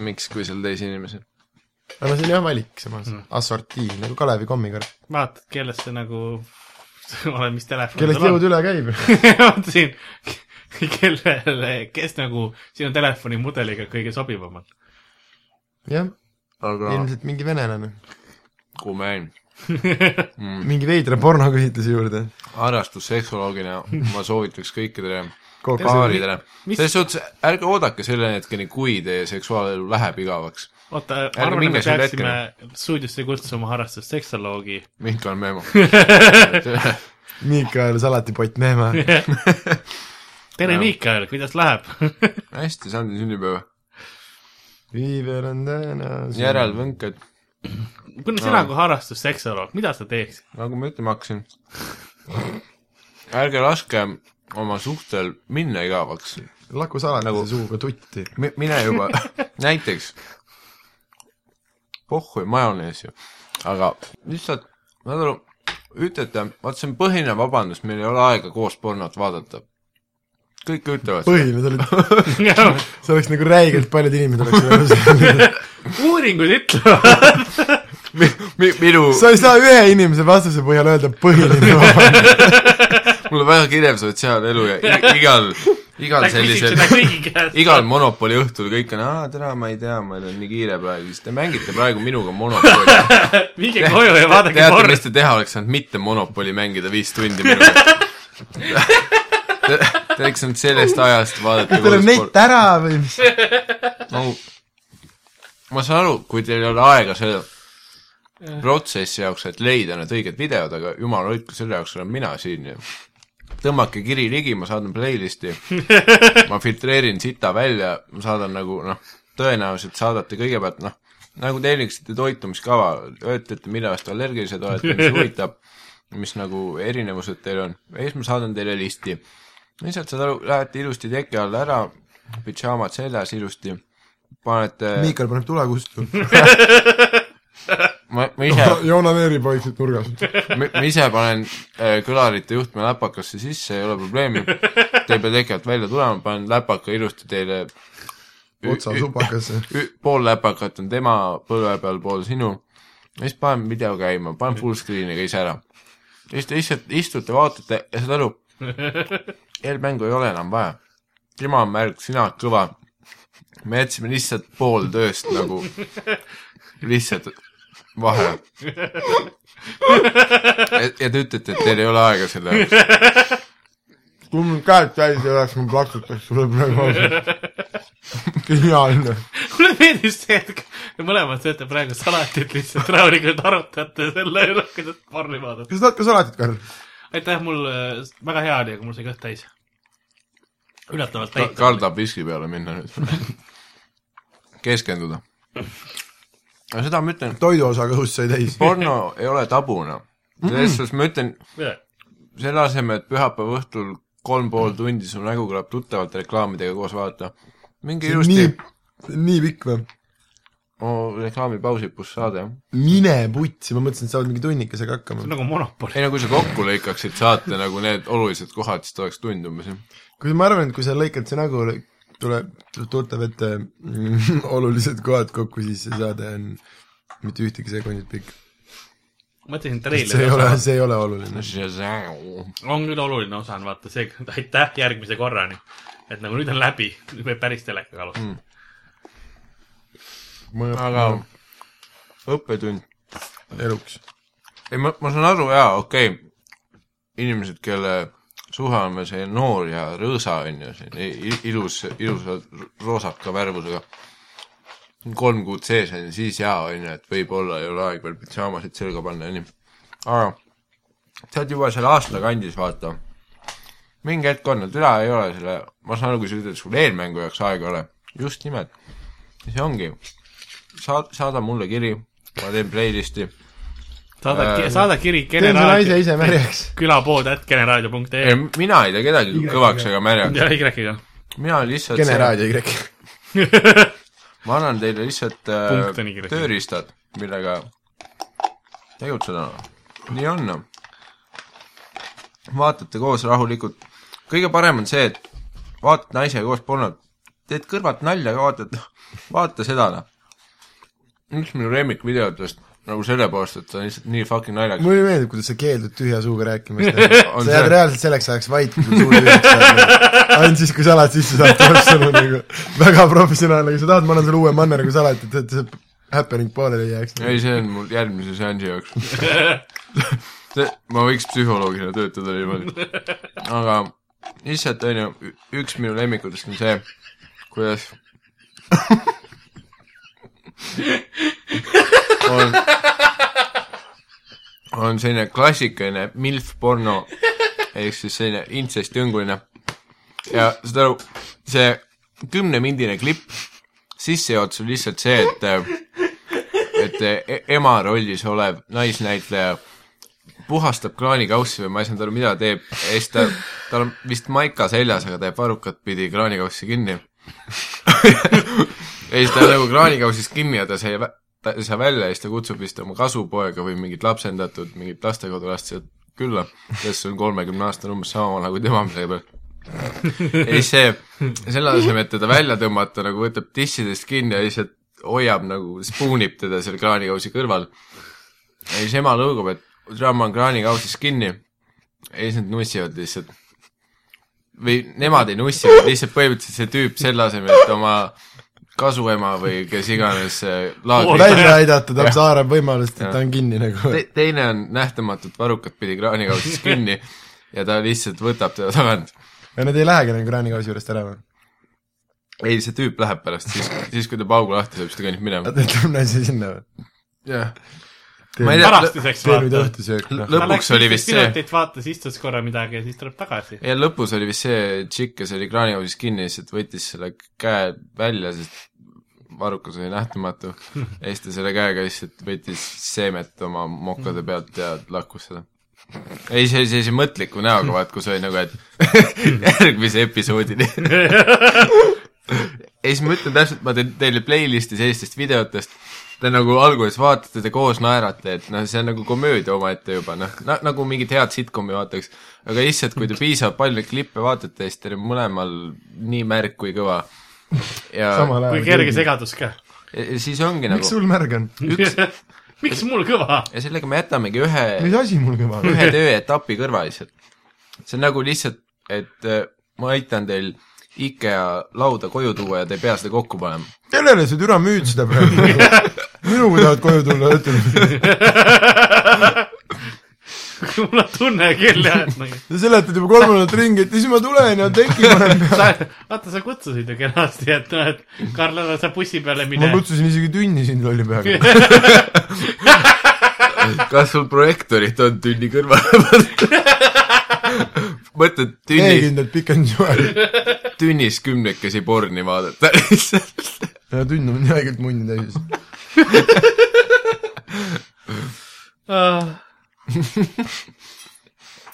C: miks , kui seal teisi inimesi on ?
D: aga no see on jah valik samas , assortii , nagu Kalevi kommikõrv .
B: vaatad , (laughs) kellest see nagu , oleneb , mis telefon (laughs)
D: kellest jõud üle käib . (laughs)
B: on . siin , kellele , kes nagu sinu telefoni mudeliga kõige sobivam on .
D: jah ,
C: aga
D: ilmselt mingi venelane .
C: kumen ,
D: Mm. mingi veidra pornoküsitluse juurde .
C: harrastusseksuoloogina ma soovitaks kõikidele
D: kokku .
C: paaridele ,
B: Mis-
C: selles suhtes ärge oodake selle hetkeni , kui teie seksuaalelu läheb igavaks .
B: oota , ma
C: Ärge
B: arvan , et
C: minge
B: me
C: selle
B: peaksime stuudiosse kutsuma harrastusseksoloogi .
C: Mihkel Meemo . (laughs)
D: Miikael salatipott Neeme .
B: tere ,
C: Jah.
B: Miikael , kuidas läheb ? (laughs)
C: hästi , see on sünnipäev .
D: viiber on tõenäosus .
C: järelvõnked ,
B: kuidas sina kui harrastusseksoloog , mida sa teeks ?
C: nagu ma ütlema hakkasin . ärge laske oma suhtel minna igavaks .
D: laku salatise
C: Nagu-
D: nagu... suuga tutti .
C: mine
B: (laughs)
C: juba , näiteks , pohhu ja majonees ju , aga lihtsalt , saad aru , ütlete , vaat see on põhiline vabandus , meil ei ole aega koos pornot vaadata . kõik ütlevad ,
D: põhiline oli , see oleks nagu räigelt paljud inimesed oleks nagu- öelnud .
B: (laughs) uuringud ütlevad ,
C: minu ,
D: sa ei saa ühe inimese vastuse põhjal öelda põhiline .
C: mul on väga kirev sotsiaalelu ja i- igal , igal
B: küsib
C: sellisel
B: seda kõigi käest .
C: (laughs) igal Monopoli õhtul kõik on , aa , täna ma ei tea , meil on nii kiire praegu , siis te mängite praegu minuga Monopoli .
B: minge koju ja vaadake
C: teate ,
B: porno
C: mis . te teha oleks saanud , mitte Monopoli mängida viis tundi minuga . Te te oleks saanud sellest ajast vaadata .
D: tuleb nett ära või mis ?
C: nagu , ma saan aru , kui teil ei ole aega selle protsessi jaoks , et leida need õiged videod , aga jumal hoidku , selle jaoks olen mina siin ju . tõmmake kiri ligi , ma saadan playlisti , ma filtreerin sita välja , ma saadan nagu noh , tõenäoliselt saadate kõigepealt noh , nagu teeniksite toitumiskava , ütlete , mille vastu allergilised olete , mis huvitab , mis nagu erinevused teil on ja siis ma saadan teile listi . lihtsalt saad aru , lähete ilusti teki alla ära , pidžaamad seljas ilusti , panete ,
D: Miikael paneb tule kustu .
C: ma , ma
D: (laughs)
C: ise
D: Joona Neeri poisid nurgas .
C: ma ma ise panen äh, kõlarite juhtme läpakasse sisse , ei ole probleemi . Te ei pea tegelikult välja tulema , panen läpaka ilusti teile ü-
D: otsa
C: ü-
D: supakasse .
C: ü- pool läpakat on tema põlve peal , pool sinu . ja siis panen video käima , panen full screen'iga ise ära . ja siis te lihtsalt istute , vaatate ja saad aru , eelmängu ei ole enam vaja . tema on märg , sina oled kõva . me jätsime lihtsalt pool tööst nagu lihtsalt vahele . ja te ütlete , et teil ei ole aega selle jaoks .
D: kui mul käed täis ei oleks , ma plaksutaks sulle praegu otsa . geniaalne .
B: mulle meeldis see , et te mõlemad sööte praegu salatit lihtsalt rahulikult arutate selle üle , kuidas porni vaadata .
D: kas sa tahad ka salatit , Karl ?
B: aitäh , mul äh, väga hea oli , aga mul sai kõht täis . üllatavalt
C: Ka-
B: täis .
C: kardab viski peale minna nüüd . keskenduda . aga seda ma ütlen ,
D: toidu osa kõhust sai täis . (laughs)
C: porno ei ole tabuna . selles suhtes ma ütlen , selle asemel , et pühapäeva õhtul kolm pool tundi su nägu kõlab tuttavalt reklaamidega koos vaadata , minge
D: nii
C: ilusti ,
D: nii pikk või ?
C: oh, reklaamipausi pluss saade , jah .
D: mine putsi , ma mõtlesin , et sa oled mingi
B: see
D: tunnikesega hakkama
B: on . nagu monopol .
C: ei no kui sa kokku lõikaksid saate nagu need olulised kohad , siis ta oleks tund umbes , jah .
D: kui ma arvan , et kui sa lõikad see nägu , tuleb , tuleb ette mm, (laughs) olulised kohad kokku , siis see saade on mitte ühtegi sekundit pikk .
B: mõtlesin
D: see ei
B: treileri
D: ole
B: osa ,,
D: see ei ole oluline .
B: on küll oluline osa on vaata see , (laughs) aitäh järgmise korrani . et nagu nüüd on läbi , nüüd võib päris telekaga alustada mm. .
C: aga õppetund
D: eluks .
C: ei , ma , ma saan aru jaa , okei okay. , inimesed , kelle suhe on veel see noor ja rõõsa on ju , see i- ilus , ilusa r- roosaka värvusega . kolm kuud sees on ju , siis jaa on ju , et võib-olla ei ole aeg veel pidžaamasid selga panna ja nii . aga sa oled juba seal aasta kandis , vaata . mingi hetk on , et üle ei ole selle , ma saan aru , kui sa ütled , et sul eelmängu jaoks aega ei ole , just nimelt . see ongi , saad , saada mulle kiri , ma teen playlist'i
B: saada
C: Äh,
B: äh, , saada kiri
D: teen selle naise
B: generaadio ,
D: ise märjaks .
B: külapood at generaadio.ee
C: ei , mina ei tea kedagi kõvaks ega märjaks ,
B: ja Y-iga .
C: mina lihtsalt ,
D: kene raadio Y .
C: ma annan teile lihtsalt
B: Punkt on
C: äh,
B: Y.
C: tööriistad , millega tegutseda . nii on . vaatate koos rahulikult , kõige parem on see , et vaatad naisega koos polnud , teed kõrvalt nalja , vaatad , vaata seda , noh . üks minu lemmikvideotest nagu selle poolest , et ta on lihtsalt nii fucking naljakas .
D: mulle meeldib , kuidas sa keeldud tühja suuga rääkimast .
C: (laughs) On
D: sa jääd
C: see-
D: reaalselt selleks ajaks vait , kui sul suu tühjaks jääb . ainult siis , kui salad sisse saab , tuleb sõnum nagu väga professionaalne , kui sa tahad , ma annan sulle uue manneri kui salad , et , et see happening pooleli ei jääks .
C: ei , see on mul järgmise seansi jaoks . ma võiks psühholoogina töötada niimoodi . aga lihtsalt on ju , üks minu lemmikutest on see , kuidas on , on selline klassikaline MILF porno ehk siis selline intsestjõnguline ja saad aru , see kümnemindine klipp , sissejuhatus on lihtsalt see , et äh, et e- ema rollis olev naisnäitleja puhastab kraanikaussi või ma ei saanud aru , mida teeb , ja siis ta , tal on vist maika seljas , aga ta jääb varrukat pidi kraanikaussi kinni . (laughs) ja siis ta on nagu kraanikaussist kinni ja ta sai , ta ei saa välja ja siis ta kutsub vist oma kasupoega või mingit lapsendatud , mingit lastekodulast sealt külla , kes on kolmekümne aastane umbes sama vana kui tema midagi pealt . ja siis see , selle asemel , et teda välja tõmmata , nagu võtab dissidest kinni ja lihtsalt hoiab nagu , spuunib teda seal kraanikausi kõrval . ja siis ema lõugab , et draama on kraanikausis kinni . ja siis nad nussivad lihtsalt . või nemad ei nussi , vaid lihtsalt põhimõtteliselt see tüüp selle asemel , et oma kasuema või kes iganes äh, laagri
D: välja aidata , ta saarab võimalust , et ta on kinni nagu .
C: Te, teine on nähtamatult varrukat pidi kraanikausis kinni ja ta lihtsalt võtab teda tagant
D: ja nad ei lähegi nagu kraanikausi juurest ära või ?
C: ei , see tüüp läheb pärast , siis , siis kui ta paugu lahti saab , siis ta kõnnib minema .
D: ta ütleb naise sinna või ?
C: jah .
D: Teen-
C: ma ei tea ,
B: pärastiseks
D: tee nüüd
B: vaata .
D: õhtusöök , noh .
C: lõpuks oli vist see ,
B: minutit vaatas , istus korra midagi ja siis tuleb tagasi .
C: ja lõpus oli vist see tšikk , kes oli kraanikausis kinni , lihtsalt võttis selle käe välja , sest varrukas oli nähtamatu . ja siis ta selle käega lihtsalt võttis seemet oma mokkade pealt ja lakkus seda . ei , see oli sellise mõtliku näoga , vaat kus oli nagu , et järgmise episoodini . ja siis ma ütlen täpselt , ma teen teile playlist'i sellistest videotest , te nagu alguses vaatate , te koos naerate , et noh , see on nagu komöödia omaette juba , noh na, , nagu mingit head sitcomi vaataks , aga lihtsalt , kui te piisavalt palju neid klippe vaatate , siis teil on mõlemal nii märg kui kõva . ja
D: samal
B: kui
D: ajal
B: kerge . segadus ka .
C: ja- ja siis ongi
D: miks
C: nagu
D: sul märg on ?
C: üks
B: (laughs) miks mul kõva ? (laughs)
C: ja sellega me jätamegi ühe ,
D: mis asi mul
C: (laughs)
D: kõva on ?
C: ühe tööetapi kõrva lihtsalt . see on nagu lihtsalt , et äh, ma aitan teil IKEA lauda koju tuua ja te ei pea seda kokku panema .
D: kellele sa türa müüd seda
C: (laughs)
D: praegu ? minuga tahad koju tulla , ütleme .
B: mul on tunne küll jah , et nagu
D: sa seletad juba kolm nädalat ringi , et siis ma tulen ja teki panen peale .
B: sa , vaata , sa kutsusid ju kenasti , et noh , et Karl , ära sa bussi peale mine
D: ma . kutsusin isegi tünni sind lolli peaga .
C: kas sul projektoorid on tünni kõrvale pandud ? (laughs) mõtled tünnis ,
D: meekindlalt pikendusjuhend .
C: tünnis kümnekesi porni vaadata lihtsalt . (laughs)
D: ja tünn on nii haigelt munni täis .
B: Ah,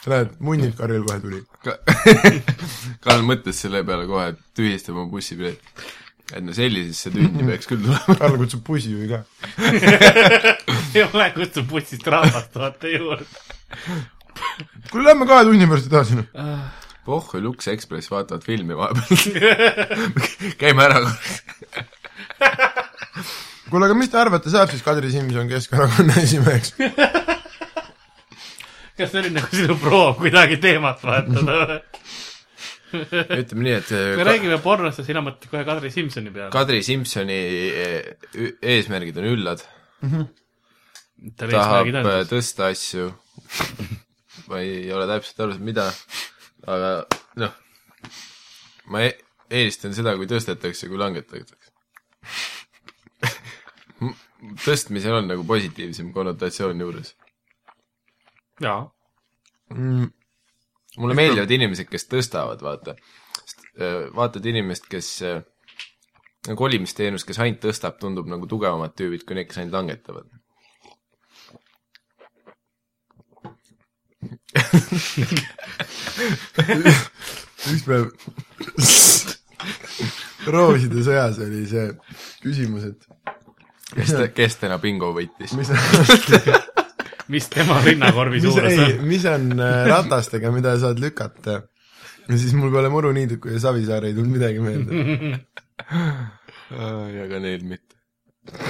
D: näed , munnid Karjal kohe tuli .
C: Karl mõtles selle peale kohe , et tühistab oma bussipileti . et no sellisesse tünni peaks küll tulema . (laughs)
D: Karl kutsub bussijuhi ka .
B: ei ole , kutsub bussist rahvast vaata juurde .
D: kuule , lähme kahe tunni pärast edasi , noh .
C: Pohhu ja Lux Express vaatavad filmi vahepeal . (laughs) käime ära korra .
D: kuule , aga mis te arvate , saab siis Kadri Simson Keskerakonna (laughs) esimeheks ?
B: kas see oli nagu sinu proov kuidagi teemat vahetada või ?
C: ütleme nii , et
B: me
C: äh,
B: räägime pornost ja sina mõtled kohe Kadri Simsoni
C: Ka-
B: peale .
C: Kadri Simsoni äh, ü- eesmärgid on üllad ,
B: tal
C: tahab
B: eesmärgid on
C: äh, . tõsta asju . ma ei ole täpselt aru saanud , mida , aga noh , ma e- eelistan seda , kui tõstetakse , kui langetatakse . tõstmisel on nagu positiivsem konnotatsioon juures .
B: jaa .
C: mulle meeldivad inimesed , kes tõstavad , vaata . vaatad inimest , kes äh, nagu olimisteenus , kes ainult tõstab , tundub nagu tugevamad tüübid kui need , kes ainult langetavad .
D: üks päev (laughs) Rooside sõjas oli see küsimus , et
C: kes , kes täna bingo võitis ?
D: mis on , (laughs)
B: mis tema rinnakorvi
D: mis ,
B: suurus
D: ei
B: on ?,
D: mis on äh, ratastega , mida saad lükata . ja siis mul peale muruniiduku ja Savisaar ei tulnud midagi meelde .
C: ja ka neil mitte .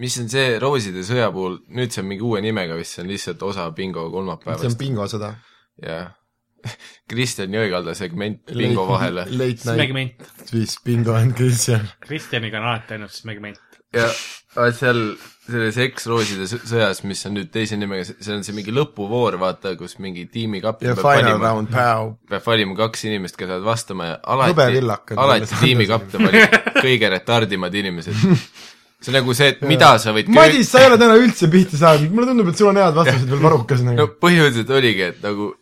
C: mis on see Rooside sõja puhul , nüüd see on mingi uue nimega vist , see on lihtsalt osa bingo
D: see on
C: kolmapäevast ,
D: bingo sõda .
C: jah . (laughs) Kristjan Jõekalda segment bingo vahele .
D: Late night
B: Smegment .
D: (laughs) siis bingo and Kristjan .
B: Kristjaniga on alati ainult Smegment .
C: ja vaat seal selles eks-Rooside sõ- sõjas , mis on nüüd teise nimega , see on see mingi lõpuvoor , vaata , kus mingi tiimikapten
D: ja
C: peab
D: final
C: valima ,
D: round , päev .
C: peab valima kaks inimest , kes saavad vastama ja
D: Hõbevillak
C: alati ,
D: on selles
C: alati tiimikapten
D: (laughs)
C: valib kõige retardimad inimesed . see on nagu see , et mida sa võid
D: Madis , sa ei ole täna üldse pihta saanud , mulle tundub , et sul on head vastused veel varukas nagu
C: no . põhimõtteliselt oligi , et nagu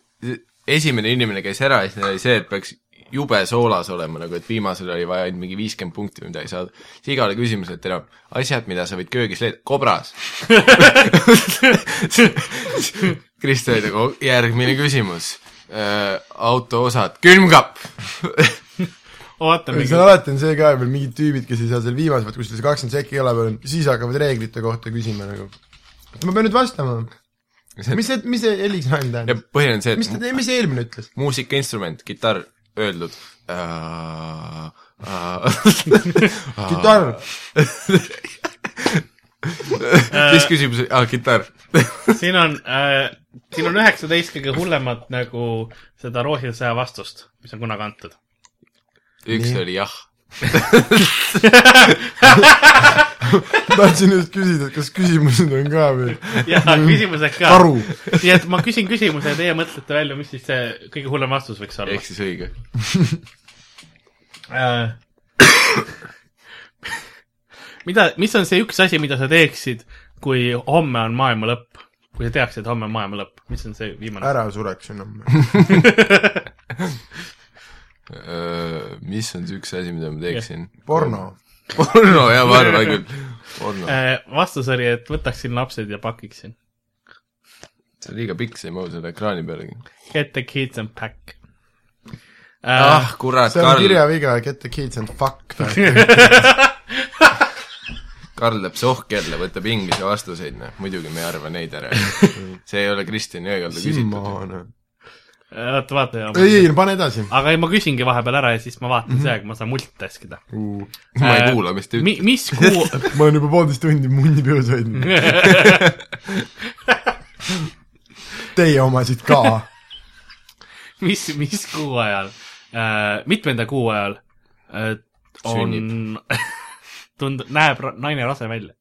C: esimene inimene käis ära ja siis neil oli see , et peaks jube soolas olema nagu , et viimasel oli vaja ainult mingi viiskümmend punkti või midagi saada . siis igale küsimusele teil on asjad , mida sa võid köögis leida , kobras . Kristo oli nagu , järgmine küsimus . autoosad , külmkapp . (laughs)
B: oota , mingi
D: seal alati on see ka veel , mingid tüübid , kes ei saa seal viimase , vaat kus neil see kakskümmend sekki ei ole veel , siis hakkavad reeglite kohta küsima nagu . ma pean nüüd vastama . mis see , mis see heliks nalja
C: ja
D: tähendab ?
C: põhiline on see ,
D: mis
C: et
D: ta , mis see eelmine ütles ?
C: muusikainstrument , kitarr , öeldud . Äh, (laughs)
D: kitarr .
C: siis küsimus , aa , kitarr . (laughs)
B: siin on äh, , siin on üheksateist kõige hullemat nagu seda Rooside sõja vastust , mis on kunagi
D: (laughs)
B: antud .
C: üks oli jah
D: (laughs) tahtsin just küsida , et kas küsimused on ka veel .
B: ja küsimused ka .
D: karu .
B: nii et ma küsin küsimuse ja teie mõtlete välja , mis siis see kõige hullem vastus võiks olla
C: ehk . siis õige .
B: Äh. (coughs) mida , mis on see üks asi , mida sa teeksid , kui homme on maailma lõpp ? kui sa teaksid , et homme on maailma lõpp , mis on see viimane ?
D: ära sureks enam .
C: mis on see üks asi , mida ma teeksin ?
D: porno .
C: porno , jaa , ma arvan küll . porno ,
B: Äh, vastus oli , et võtaksin lapsed ja pakiksin .
C: see on liiga pikk , see ei mahu selle ekraani pealegi .
B: Get the kids and pack . Äh,
C: ah , kurat ,
D: see on
C: Karl ,
D: kirjaviga , get the kids and fuck .
C: Karl läheb sohki jälle , võtab inglise vastuseid , noh , muidugi me ei arva neid
D: (laughs)
C: ära . see ei ole Kristjan Jõekalda küsitud .
D: Simmoona .
B: oota , vaata jah .
D: ei , Mhm. ei , pane edasi .
B: aga ei , ma küsingi vahepeal ära ja siis ma vaatan mm -hmm. see aeg , ma saan multitask ida .
C: ma ei kuula , mis ta
B: Mi-
C: ütleb .,
B: mis kuu ,
D: ma olen juba poolteist tundi munni peos hoidnud . Teie omasid ka .
B: (laughs) mis , mis kuu ajal äh, , mitmenda kuu ajal äh, on , (laughs) tundub , näeb ra- naine rase välja .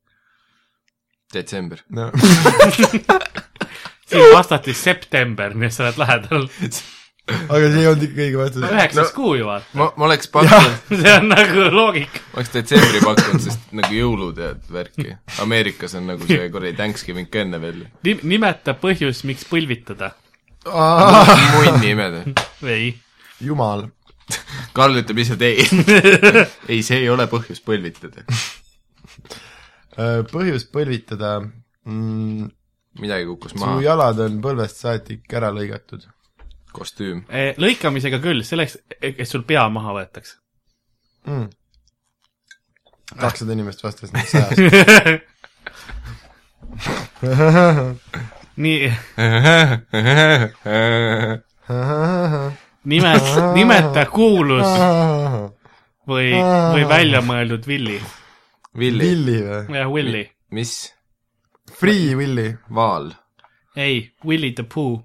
C: detsember .
D: no
B: siin vastati september , nii et sa oled lähedal .
D: aga see ei olnud ikka õige vastus .
B: üheksas no. kuu ju vaata ,
C: ma , ma
D: (laughs)
C: oleks pakkunud ,
B: (laughs) see on nagu loogika .
C: ma oleks detsembri pakkunud , sest nagu jõulud ja värki . Ameerikas on nagu see kuradi Thanksgiving ka enne
D: (laughs)
C: veel .
B: Nim- , nimeta põhjus , miks põlvitada .
C: munni imed
B: ei ,
D: (laughs) jumal .
C: Karl ütleb lihtsalt ei . ei , see ei ole põhjus põlvitada .
D: põhjus Äh, põlvitada mm, .
C: midagi kukkus
D: su
C: maha ,
D: jalad on põlvest saatik ära lõigatud .
C: (laughs) kostüüm .
B: E, lõikamisega küll , selleks , et sul pea maha võetakse .
D: kakssada inimest vastas nüüd sajast .
B: nii , nimeta , nimeta kuulus või , või väljamõeldud Willie ,
C: Villi, Villi. ,
D: (laughs) Willy või ?
B: jah , Willie .
C: mis
D: Free Willy .
C: vaal ,
B: ei , Willie the Pooh ,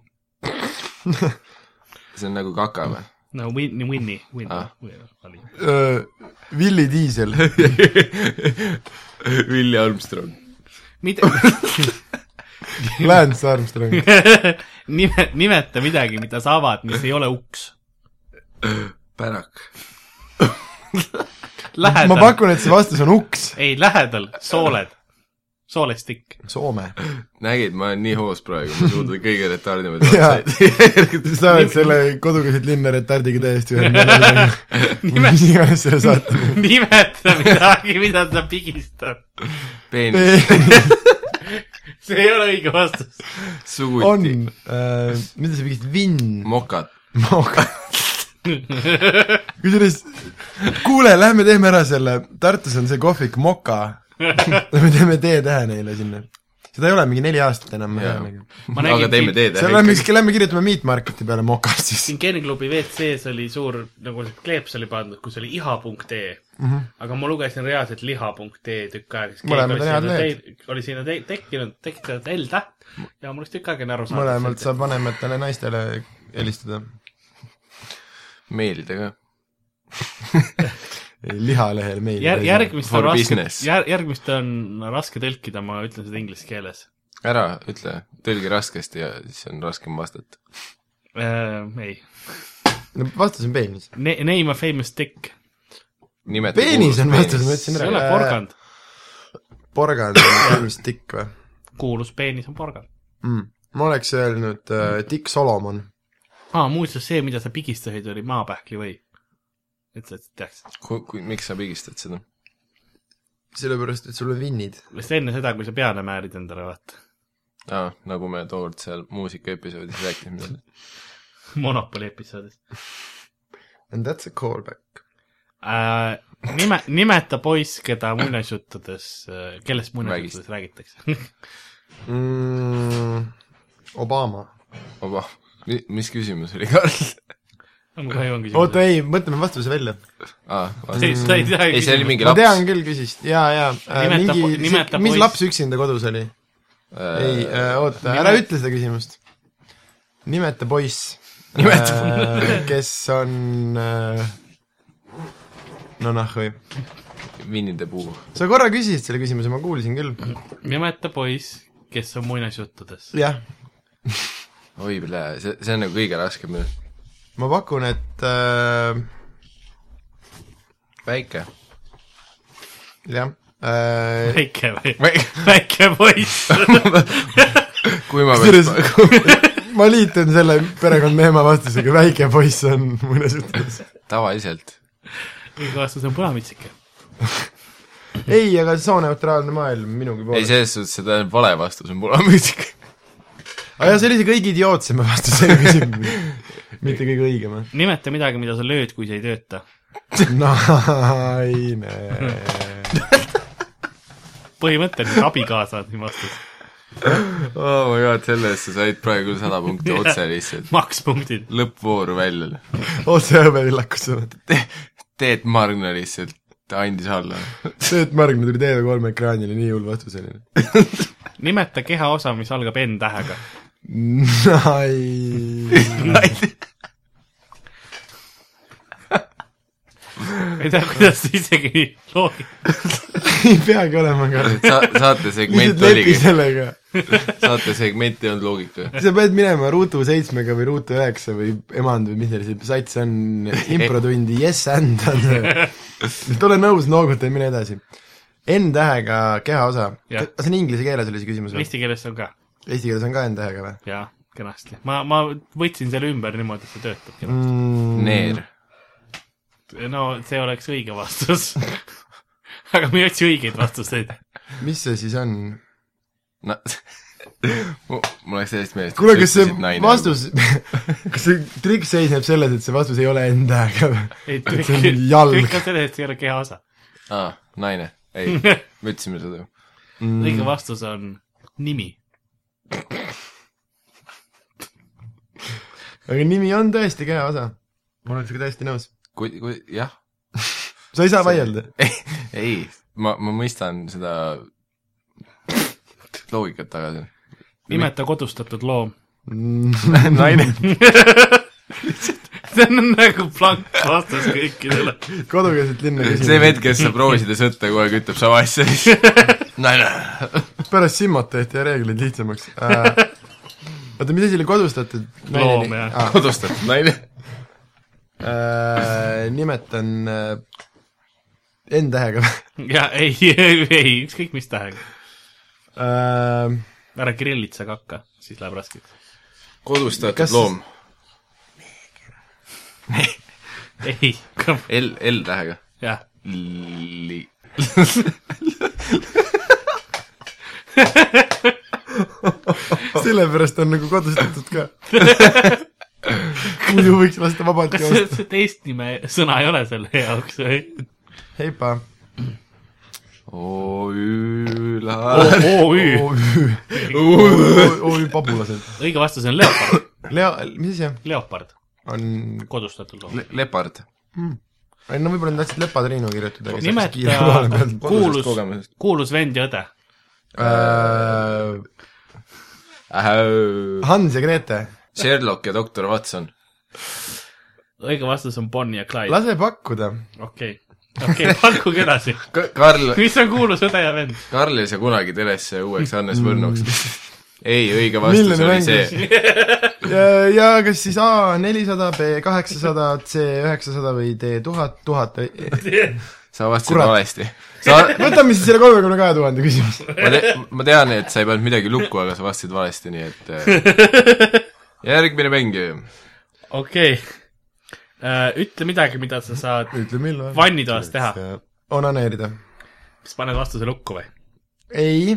C: see on nagu kaka (laughs) või ?
B: no Winnie , Winnie , Winnie
C: Ah.
B: ah. .
D: Willy Diesel .
C: Villi Armstrong .
B: mida (laughs)
D: Lance Armstrong .
B: nime , nimeta midagi , mida sa avad , mis ei ole uks .
C: pärak .
D: ma
B: lähedal ,
D: pakun , et see vastus on uks .
B: ei lähedal , sooled , soolestikk .
D: Soome .
C: nägid , ma olen nii hoos praegu , (laughs) ma suudan kõige retardimaid
D: jaa
C: otsaid .,
D: sa oled selle kodukeset linna retardiga täiesti ühel meelel .
B: Nime-
D: mis iganes selle saate
B: (laughs) (laughs) nimeta midagi , mida sa pigistad .
D: (laughs)
C: peenis ,
D: nimi
B: see ei ole õige vastus .
D: on äh,
C: suguti ,,
D: mida sa pigistad , vinn ?
C: mokad .
D: kusjuures , kuule , lähme teeme ära selle , Tartus on see kohvik Moka . me teeme teetähe neile sinna . seda ei ole mingi neli aastat enam
C: Jaa.
D: yeah. .
B: ma
C: aga teeme
B: nägin ,
C: teed
D: seal
C: ära
D: lähme
C: ikkagi .
D: lähme kirjutame Meat Marketi peale mokad siis
B: siin Geniklubi WC-s oli suur nagu see kleeps oli pandud , kus oli iha.ee
D: mm . -hmm.
B: aga ma lugesin reaalselt liha.ee tükk aega , siis
D: Mõlemad
B: keegi oli
D: on head
B: sinna
D: lehed.
B: tei- oli sinna te- tekkinud , tekitanud L-täht ja mul oleks tükk aega enne aru saanud .
D: mõlemalt saab vanematele naistele helistada .
C: meelida ka .
D: lihalehel meil .
B: Jär, . järgmist on
C: For
B: raske
C: business. ,
B: jär, järgmist on raske tõlkida , ma ütlen seda inglise keeles
C: ära ütle , tõlgi raskesti ja siis on raskem vastata .
B: äh, . ei
D: no vastus on peenis .
B: ne, , name a famous dick ,
C: nimeta
D: peenis on vastus , ma ütlesin
B: see ei ole . porgand ,
D: porgand on peenis tikk või
B: kuulus peenis on porgand .
D: mm. ? ma oleks öelnud äh, Dick Solomon .
B: aa , muuseas see , mida sa pigistasid , oli maapähkli või ? et sa teaks ,
C: kui , miks sa pigistad seda ?
D: sellepärast , et sul on vinnid .
B: sest enne seda , kui sa peale määrid endale , vaata , (laughs)
C: aa , nagu me tookord seal muusika episoodis rääkisime sellest .
B: Monopoli episoodis
D: And that's a callback .
B: äh, . Nime , nimeta poiss , keda muinasjuttudes , kellest muinasjuttudes räägitakse . (laughs)
D: mm, . Obama .
C: oba , Oh, mis küsimus oli , Karl ?
B: on kahju , on
D: oota ,
B: küsimus .
D: ei , mõtleme vastuse välja .
C: aa ,
B: ei ,
C: vastus .
B: sa ei tea
C: ei , see oli
B: küsimus .
C: mingi
D: ma tean
C: laps .
D: küll küsist , jaa , jaa .
B: Nimeta po-
D: mingi ,
B: nimeta
D: mis
B: poiss.
D: laps üksinda kodus oli ?
C: Äh, (laughs)
D: ei , oota ,
B: nime-
D: ära ütle seda küsimust . nimeta poiss . Äh, kes on äh, no noh , või
C: vinnide puu .
D: sa korra küsisid selle küsimuse , ma kuulsin küll .
B: nimeta poiss , kes on muinasjuttudes .
D: jah ,
C: oi , see , see on nagu kõige raskem minu arust .
D: ma pakun , et äh,
C: väike .
D: jah äh, ,
B: väike
C: (laughs)
B: või ? väike poiss .
C: kui (laughs) ma
D: kusjuures
C: peaks ,
D: ma liitun selle perekondmeema vastusega , väike poiss on mõnes jutus .
C: tavaliselt ,
B: õige vastus on punamitsike .
D: ei , aga sooneutraalne maailm minugi
C: ei
D: poole .
C: selles suhtes , seda vale vastus on punamüsik .
D: aga jah , see oli see kõige idiootsema vastusega küsimus , mitte kõige õigema .
B: nimeta midagi , mida sa lööd , kui see ei tööta .
D: naine .
B: põhimõtteliselt abikaasa on siin vastus .
C: oh my god , selle eest sa said praegu küll sada (laughs) punkti otse lihtsalt .
B: makspunktid .
C: lõppvooru välja .
D: otse õuevillakus sa mõtled .
C: Teet Margna lihtsalt andis alla .
D: see , et Margna tuli TV3 ekraanile , nii hull vastus oli .
B: nimeta kehaosa , mis algab N tähega .
D: naine .
B: ei tea , kuidas see isegi loogi- .
D: (laughs) ei peagi olema ka .
C: Sa, saate segment
D: lihtsalt lepi
C: oligi ,
D: sellega .
C: saate segment ei olnud loogika .
D: sa pead minema Ruutu seitsmega või Ruutu üheksa või Emand või mis neil see sats on , improtundi Yes
B: (laughs)
D: and on see . ole nõus , nooguta ja mine edasi . N tähega kehaosa .
B: Jah.
D: kas see on inglise keeles oli see küsimus või ?
B: Eesti keeles on ka ,
D: Eesti keeles on ka N tähega või
B: jaa , kenasti . ma , ma võtsin selle ümber niimoodi , et see töötab kenasti .
D: mm, ?
C: Neer .
B: no see oleks õige vastus . (laughs) aga me ei otsi õigeid vastuseid .
D: mis see siis on ?
C: (laughs) no mul mul läks sellest meelest .
D: kuule , kas see .
C: nagu.
D: vastus , (laughs) kas see trikk seisneb selles , et see vastus ei ole N tähega või ?
B: (laughs) ei ,
D: See on jalg.
B: kõik on selles , et see ei ole kehaosa .
C: aa , naine , ei , me ütlesime seda .
B: õige vastus on nimi .
D: aga nimi on tõesti kehaosa . ma olen sinuga täiesti nõus .
C: kui , kui , jah ,
D: sa ei saa vaielda .
C: ei , ma , ma mõistan seda loogikat tagasi .
B: nimeta kodustatud loom .
D: naine .
B: (laughs) see on nagu blank (laughs) vastus kõikidele .
D: kodukeelset linna
C: see
D: küsimus .
C: vend , kes saab rooside sõtta , kogu aeg ütleb sama asja , (laughs) siis naine .
D: pärast Simmot tehti reeglid lihtsamaks äh, . oota , mis asi oli kodustatud ?
B: Loom, jah.
D: Ah,
C: kodustatud naine .
D: äh, nimetan äh, N tähega
B: (laughs) ja ei , ei , ükskõik mis tähega .
D: äh, .
B: ära grillitsa kakka , siis läheb raskeks .
C: kodustatud
D: Kas-
C: loom ,
B: ei ,
C: L , L tähega .
B: jah .
C: Li- .
D: sellepärast on nagu kodustatud ka . muidu võiks lasta vabalt
B: kas see-
D: joosta .
C: (laughs)
B: see teist nime , sõna ei ole selle jaoks või ?
D: heipa .
C: OÜ
D: Oh.
C: Laar .
B: OÜ ,
D: OÜ pabulased .
B: õige vastus on leopard ,
D: Lea , mis asi
B: leopard ,
D: on ?
B: kodustatud loom .
C: Le- , lepard .
D: on , no võib-olla nad tahtsid Lepadriinu kirjutada , aga see läks kiire (laughs)
C: (laughs)
D: kohale
B: nimeta
D: pealt .
B: kuulus
C: kogemusest. ,
B: kuulus vend ja õde .
D: Äh, Hans ja Grete ,
C: Sherlock ja doktor Watson .
B: õige vastus on Bonnie ja Clyde ,
D: lase pakkuda .
B: okei , okei , pakkuge edasi .
C: Karl ,
B: mis on kuulus õde ja vend ?
C: Karl ei saa kunagi telesse uueks Hannes Võrnuks . ei , õige vastus
D: Mm.
C: oli
D: Milline mängis
C: see ,?
D: ja kas siis A nelisada , B kaheksasada , C üheksasada või D tuhat , tuhat
B: (laughs)
D: või ?
C: sa vastasid
D: Kurat.
C: valesti . sa ,
D: võtame siis selle kolmekümne kahe tuhande küsimuse .
C: ma te- , ma tean , et sa ei pannud midagi lukku , aga sa vastasid valesti , nii et eh, järgmine mängija .
B: okei , ütle midagi , mida sa saad ,
D: ütle , millal .
B: Vannitoas teha. .
D: onaneerida .
B: kas paned vastuse lukku või ?
D: ei ,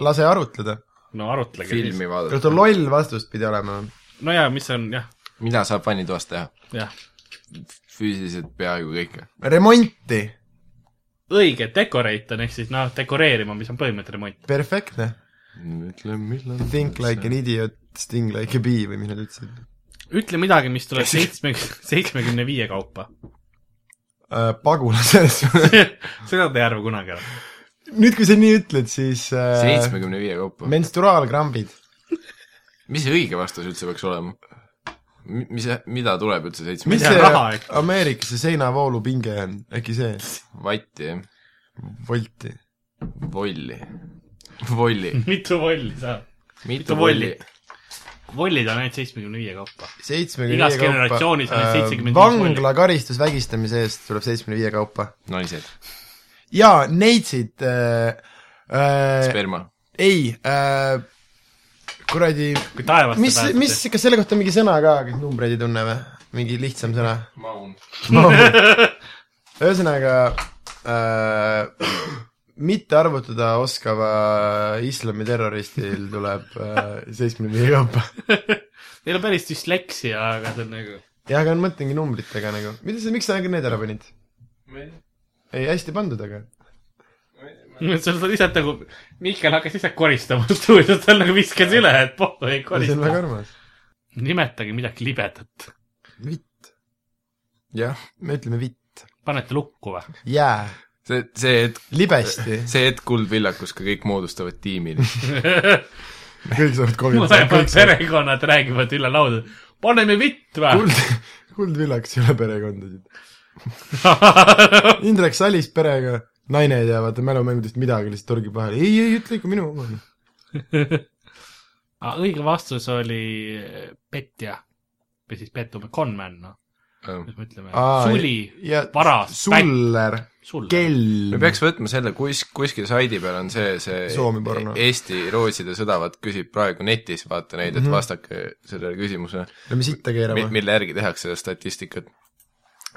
D: lase arutleda .
B: no arutlege siis .
C: filmi
D: oota ,
C: vaadata .
D: loll vastust pidi olema .
B: no jaa , mis on jah ,
C: mida saab vannitoas teha ?
B: jah .
C: füüsiliselt peaaegu kõike .
D: remonti ,
B: õige , decorate on ehk siis noh , dekoreerima , mis on põhimõtteliselt remont .
D: perfektne .
C: ütle , millal .
D: Think like an idiot , sting like a bee või mis nad ütlesid
B: ütle midagi , mis (laughs) tuleb seitsme , seitsmekümne viie (laughs) kaupa .
D: uh, . pagulased . (laughs)
B: seda te ei arva kunagi ära .
D: nüüd , kui sa nii ütled , siis uh,
C: seitsmekümne viie kaupa .
D: menstruaalkrambid .
C: mis see õige vastus üldse peaks olema ? mis , mida tuleb üldse seitsme
D: mis
B: Mida
D: see
B: raha, eks?
D: Ameerikas see seinavoolupinge on , äkki see ?
C: vatti , jah ?
D: volti .
C: volli . volli .
B: mitu volli saab ?
C: mitu
B: volli?
C: volli ?
B: vollid on ainult seitsmekümne viie kaupa .
D: seitsmekümne
B: Igas
D: viie kaupa
B: generatsioonis on
D: äh,
B: 75
D: vangla karistusvägistamise eest tuleb seitsmekümne viie kaupa .
C: naised ,
D: jaa , neitsid äh, äh, ,
C: sperma .
D: ei äh, , kuradi ,
B: kui taevast
D: mis , mis , kas selle kohta on mingi sõna ka , kes numbreid ei tunne või ? mingi lihtsam sõna ?
C: maun .
D: ühesõnaga äh, , mitte arvutada oskava islamiterroristil tuleb äh, seitsmekümne viie kaupa .
B: Neil on päris düsleksia , aga see on nagu (laughs)
D: jah , aga ma mõtlengi numbritega nagu , mida sa , miks sa nagu need ära panid ? ei , hästi pandud , aga .
B: sa oled lihtsalt nagu , Mihkel hakkas lihtsalt koristama (laughs) stuudios , ta nagu viskas üle , et pohh ei
D: see on väga
B: korista .
D: armas .
B: nimetage midagi libedat .
D: vitt ,
C: jah ,
D: me ütleme vitt .
B: panete lukku või ?
D: jää ,
C: see , see hetk ,
D: libesti .
C: see hetk Kuldvillakus , kui kõik moodustavad
D: (laughs)
C: tiimi .
D: kõik saavad
B: (laughs) mõlemad
D: kolmkümmend .
B: perekonnad räägivad üle lauda , paneme vitt või ?
D: kuld , Kuldvillakas ei ole perekondasid .
B: (laughs)
D: (laughs) Indrek Salis perega , naine ei tea vaata mälumängudest midagi , lihtsalt torgib vahele , ei , ei ütle ikka minu oma .
B: õige vastus oli eh, petja või siis pettume , conman , noh , mis me ütleme ,
D: Aa,
B: suli ,
D: ja
B: varas ,
D: suller ,
B: sulle .
D: kell
C: me . peaks võtma selle , kus , kuskil saidi peal on see , see
D: Soomi porno.
C: Eesti rooside sõdavat küsib praegu netis , vaata neid ,
D: Mhm.
C: et vastake sellele küsimusele ,
D: Lähme sitta keerama .
C: mille järgi tehakse statistikat .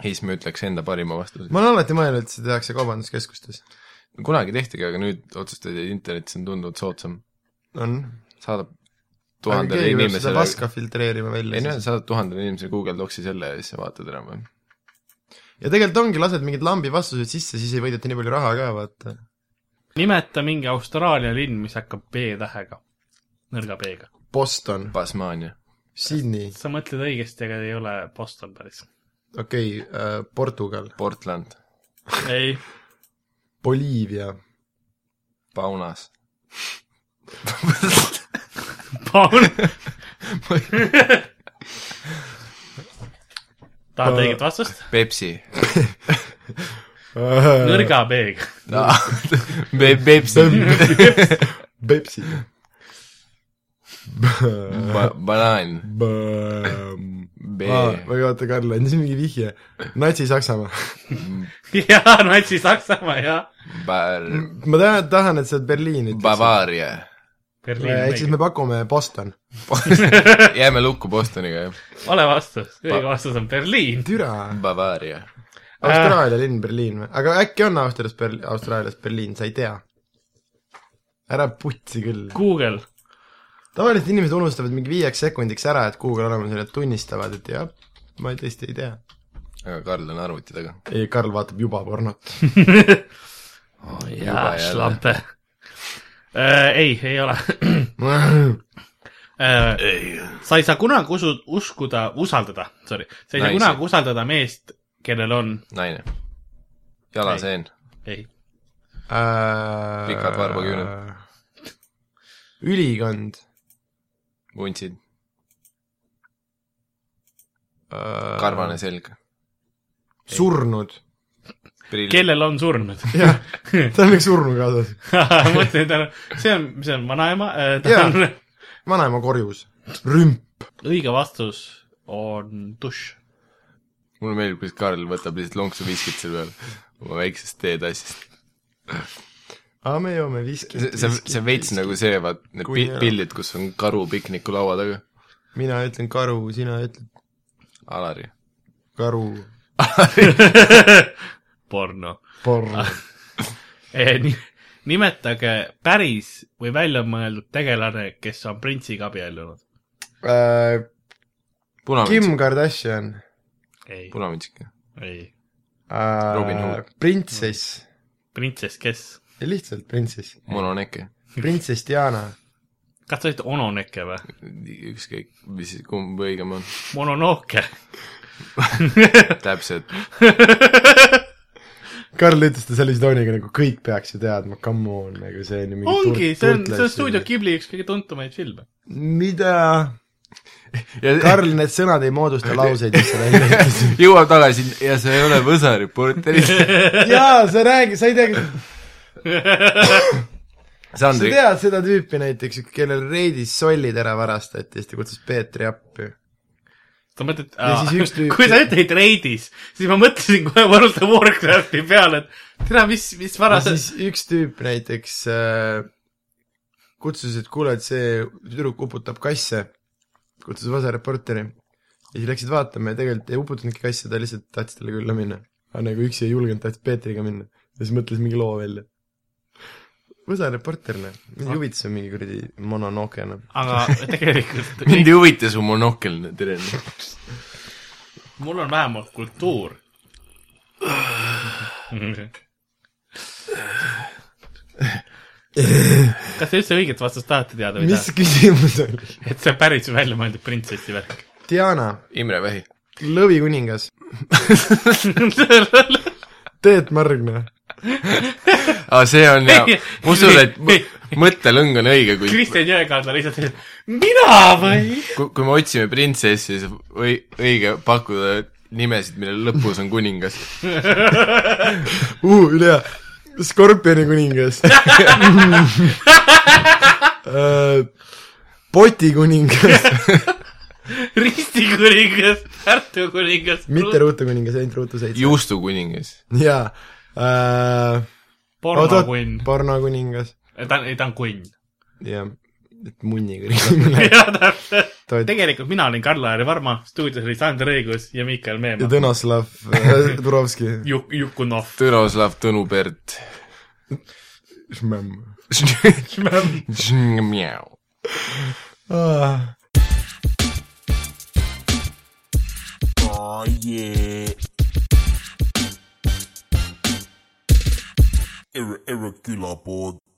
C: ja siis me ütleks enda parima vastuse .
D: ma olen alati mõelnud , et seda tehakse kaubanduskeskustes .
C: kunagi tehtigi , aga nüüd otsustati , et internetis on tunduvalt soodsam .
D: on .
C: saadab
D: aga
C: tuhandele
D: keegi peab seda
C: inimesele ,
D: paska filtreerima
C: ei no
D: välja siis .
C: saadab tuhandele inimesele Google Docsi selle ja siis sa vaatad ära või .
D: ja tegelikult ongi , lased mingid lambi vastused sisse , siis ei võideta nii palju raha ka , vaata .
B: nimeta mingi Austraalia linn , mis hakkab B tähega , nõrga B-ga .
D: Boston ,
C: Tasmaania .
D: Sydney ,
B: sa mõtled õigesti , aga ei ole Boston päris .
D: okei okay, äh, , Portugal ,
C: Portland ,
B: ei , (laughs)
D: Boliivia ,
C: Paunas .
D: (laughs)
B: Paul . tahad
D: Ma-
B: õiget vastust ?
C: Pepsi .
B: nõrga B-ga . (laughs)
C: (laughs) Pepsi .
D: (laughs) Pepsi .
C: banaan . B .
D: või oota , Karl andis mingi vihje . Natsi-Saksamaa .
B: jaa , natsi Saksamaa ja
C: Bar- ,
D: ma tahan , tahan , et sa oled Berliin ütleks .
C: Bavaria .
D: ehk Äh, siis
B: Berliin .
D: me pakume Boston .
C: jääme lukku Bostoniga , jah .
B: ole vastus , õige vastus on Berliin .
D: türa .
C: Bavaria .
D: Austraalia linn Berliin või ? aga äkki on Austrias Ber- , Austraalias Berliin , sa ei tea ? ära putsi küll .
B: Google ,
D: tavaliselt inimesed unustavad mingi viieks sekundiks ära , et Google olemusel , et tunnistavad , et jah , ma tõesti ei tea .
C: aga Karl on arvuti taga .
D: ei , Karl vaatab juba pornot .
B: jaa ,
C: jälle.
B: šlampe . ei , ei ole .
D: Äh,
B: sa ei saa kunagi usu- , uskuda , usaldada , sorry , sa ei saa
C: Naisi.
B: kunagi usaldada meest , kellel on ,
C: naine . jalaseen .
B: ei ,
D: pikad
C: varbaküüned. .
D: ülikond .
C: vuntsid . karvane . selg .
D: Äh, surnud .
C: prillid .
B: kellel on surnud . (laughs)
D: jah , ta on üks surnu kaasas .
B: mõtlesin , et tal on , see on , see on vanaema , ta
D: Jaa.
B: on ,
D: vanaema korjus . rümp .
B: õige vastus on dušš .
C: mulle meeldib , kuidas Karl võtab lihtsalt lonksu viskit selle peale oma väiksest teetassist .
D: aga me joome viski .
C: see , see , see on veits nagu see , vaat need
D: Kui
C: pi-
D: ei ole.
C: pildid , kus on karu pikniku laua taga .
D: mina ütlen karu , sina ütled
C: Alari .
D: karu .
B: porno . (laughs)
D: porno .
C: Ah.
B: Äh, nimetage päris või väljamõeldud tegelane , kes on printsiga abiellunud .
C: punamüts ,
D: Äh, Kim Kardashian .
B: ei ,
C: punamüts .
B: ei ,
C: Robin Hood.
D: Äh, printsess .
B: printsess , kes ?
D: lihtsalt printsess .
C: mononeke .
D: printsess Diana .
B: kas te olete Ononeke või ?
C: ükskõik , mis , kumb õigem on .
B: Mononoke .
C: täpselt .
D: Karl ütles ta sellise tooniga nagu kõik peaks ju teadma , come on , nagu see on ju mingi
B: ongi ,
D: turt-
B: see on ,
D: turtlass
B: see on
D: ju.
B: stuudio Ghibli üks kõige tuntumaid filme .
D: mida ?
C: ja
D: Karl , need sõnad ei moodusta lauseid , mis sa välja
B: (laughs)
D: ütlesid .
C: (laughs) jõuab tagasi ja see ei ole Võsa reporteris .
D: jaa , sa räägi , sa ei tea , sa
C: Sandri ,
D: tead seda tüüpi näiteks , kellel reidis sollid ära varastati ja siis ta kutsus Peetri appi .
B: sa mõtled ,
D: siis üks tüüp-
B: kui sa ütlesid Raidis , siis ma mõtlesin kohe World of Warcrafti peale , et tere , mis , mis
D: ja
B: vara see
D: siis üks tüüp näiteks äh, kutsus , et kuule , et see tüdruk uputab kasse , kutsus Vasa reporteri . ja siis läksid vaatama ja tegelikult ei uputanudki kasse , ta lihtsalt tahtis talle külla minna . aga nagu üksi ei julgenud , tahtis Peetriga minna . ja siis mõtles mingi loo välja . Võsa reporterina , mind ei huvita see mingi kuradi noh. mononokena . (laughs)
B: aga tegelikult
C: mind ei huvita su monokel , Teren .
B: mul on vähemalt kultuur . kas te üldse õiget vastust tahate teada või
D: mis
B: mitte ?
D: küsimus oli ?
B: et see on päris väljamõeldud printsessi
D: (laughs)
B: värk .
D: Diana ,
C: Imre Vähi .
D: lõvikuningas , Teet Margna ,
C: aa , see on hea
B: Ei, .
C: ma usun , et mõ- mõttelõng on õige , kui ,
B: Kristjan Jõekalda lihtsalt ütles , mina või ? (laughs)
C: kui me otsime printsessi , siis või- õige pakkuda nimesid , mille lõpus on kuningas .
D: üle hea , Skorpioni kuningas Äh, poti kuningas ,
B: Risti kuningas , Tartu kuningas .
D: mitte ruutukuningas , ainult ruutu seitse .
C: juustu kuningas .
D: jaa äh, .
B: pornokunn .
D: pornokuningas ,
B: Eh, ta on , ei ta on (laughs) kunn .
D: jah , et munniga ringi .
B: (laughs) jah , täpselt . tegelikult mina olin Karl-Aari Varma , stuudios oli Sander Õigus ja Miikael
D: ja
B: Meemaa .
D: Tõnoslav äh, Turovski .
B: Juk- ,
D: (laughs)
B: Jukunov .
C: Tõroslav Tõnu Pert . (laughs)
D: Ah.
A: Oh yeah. Ir- irregular board.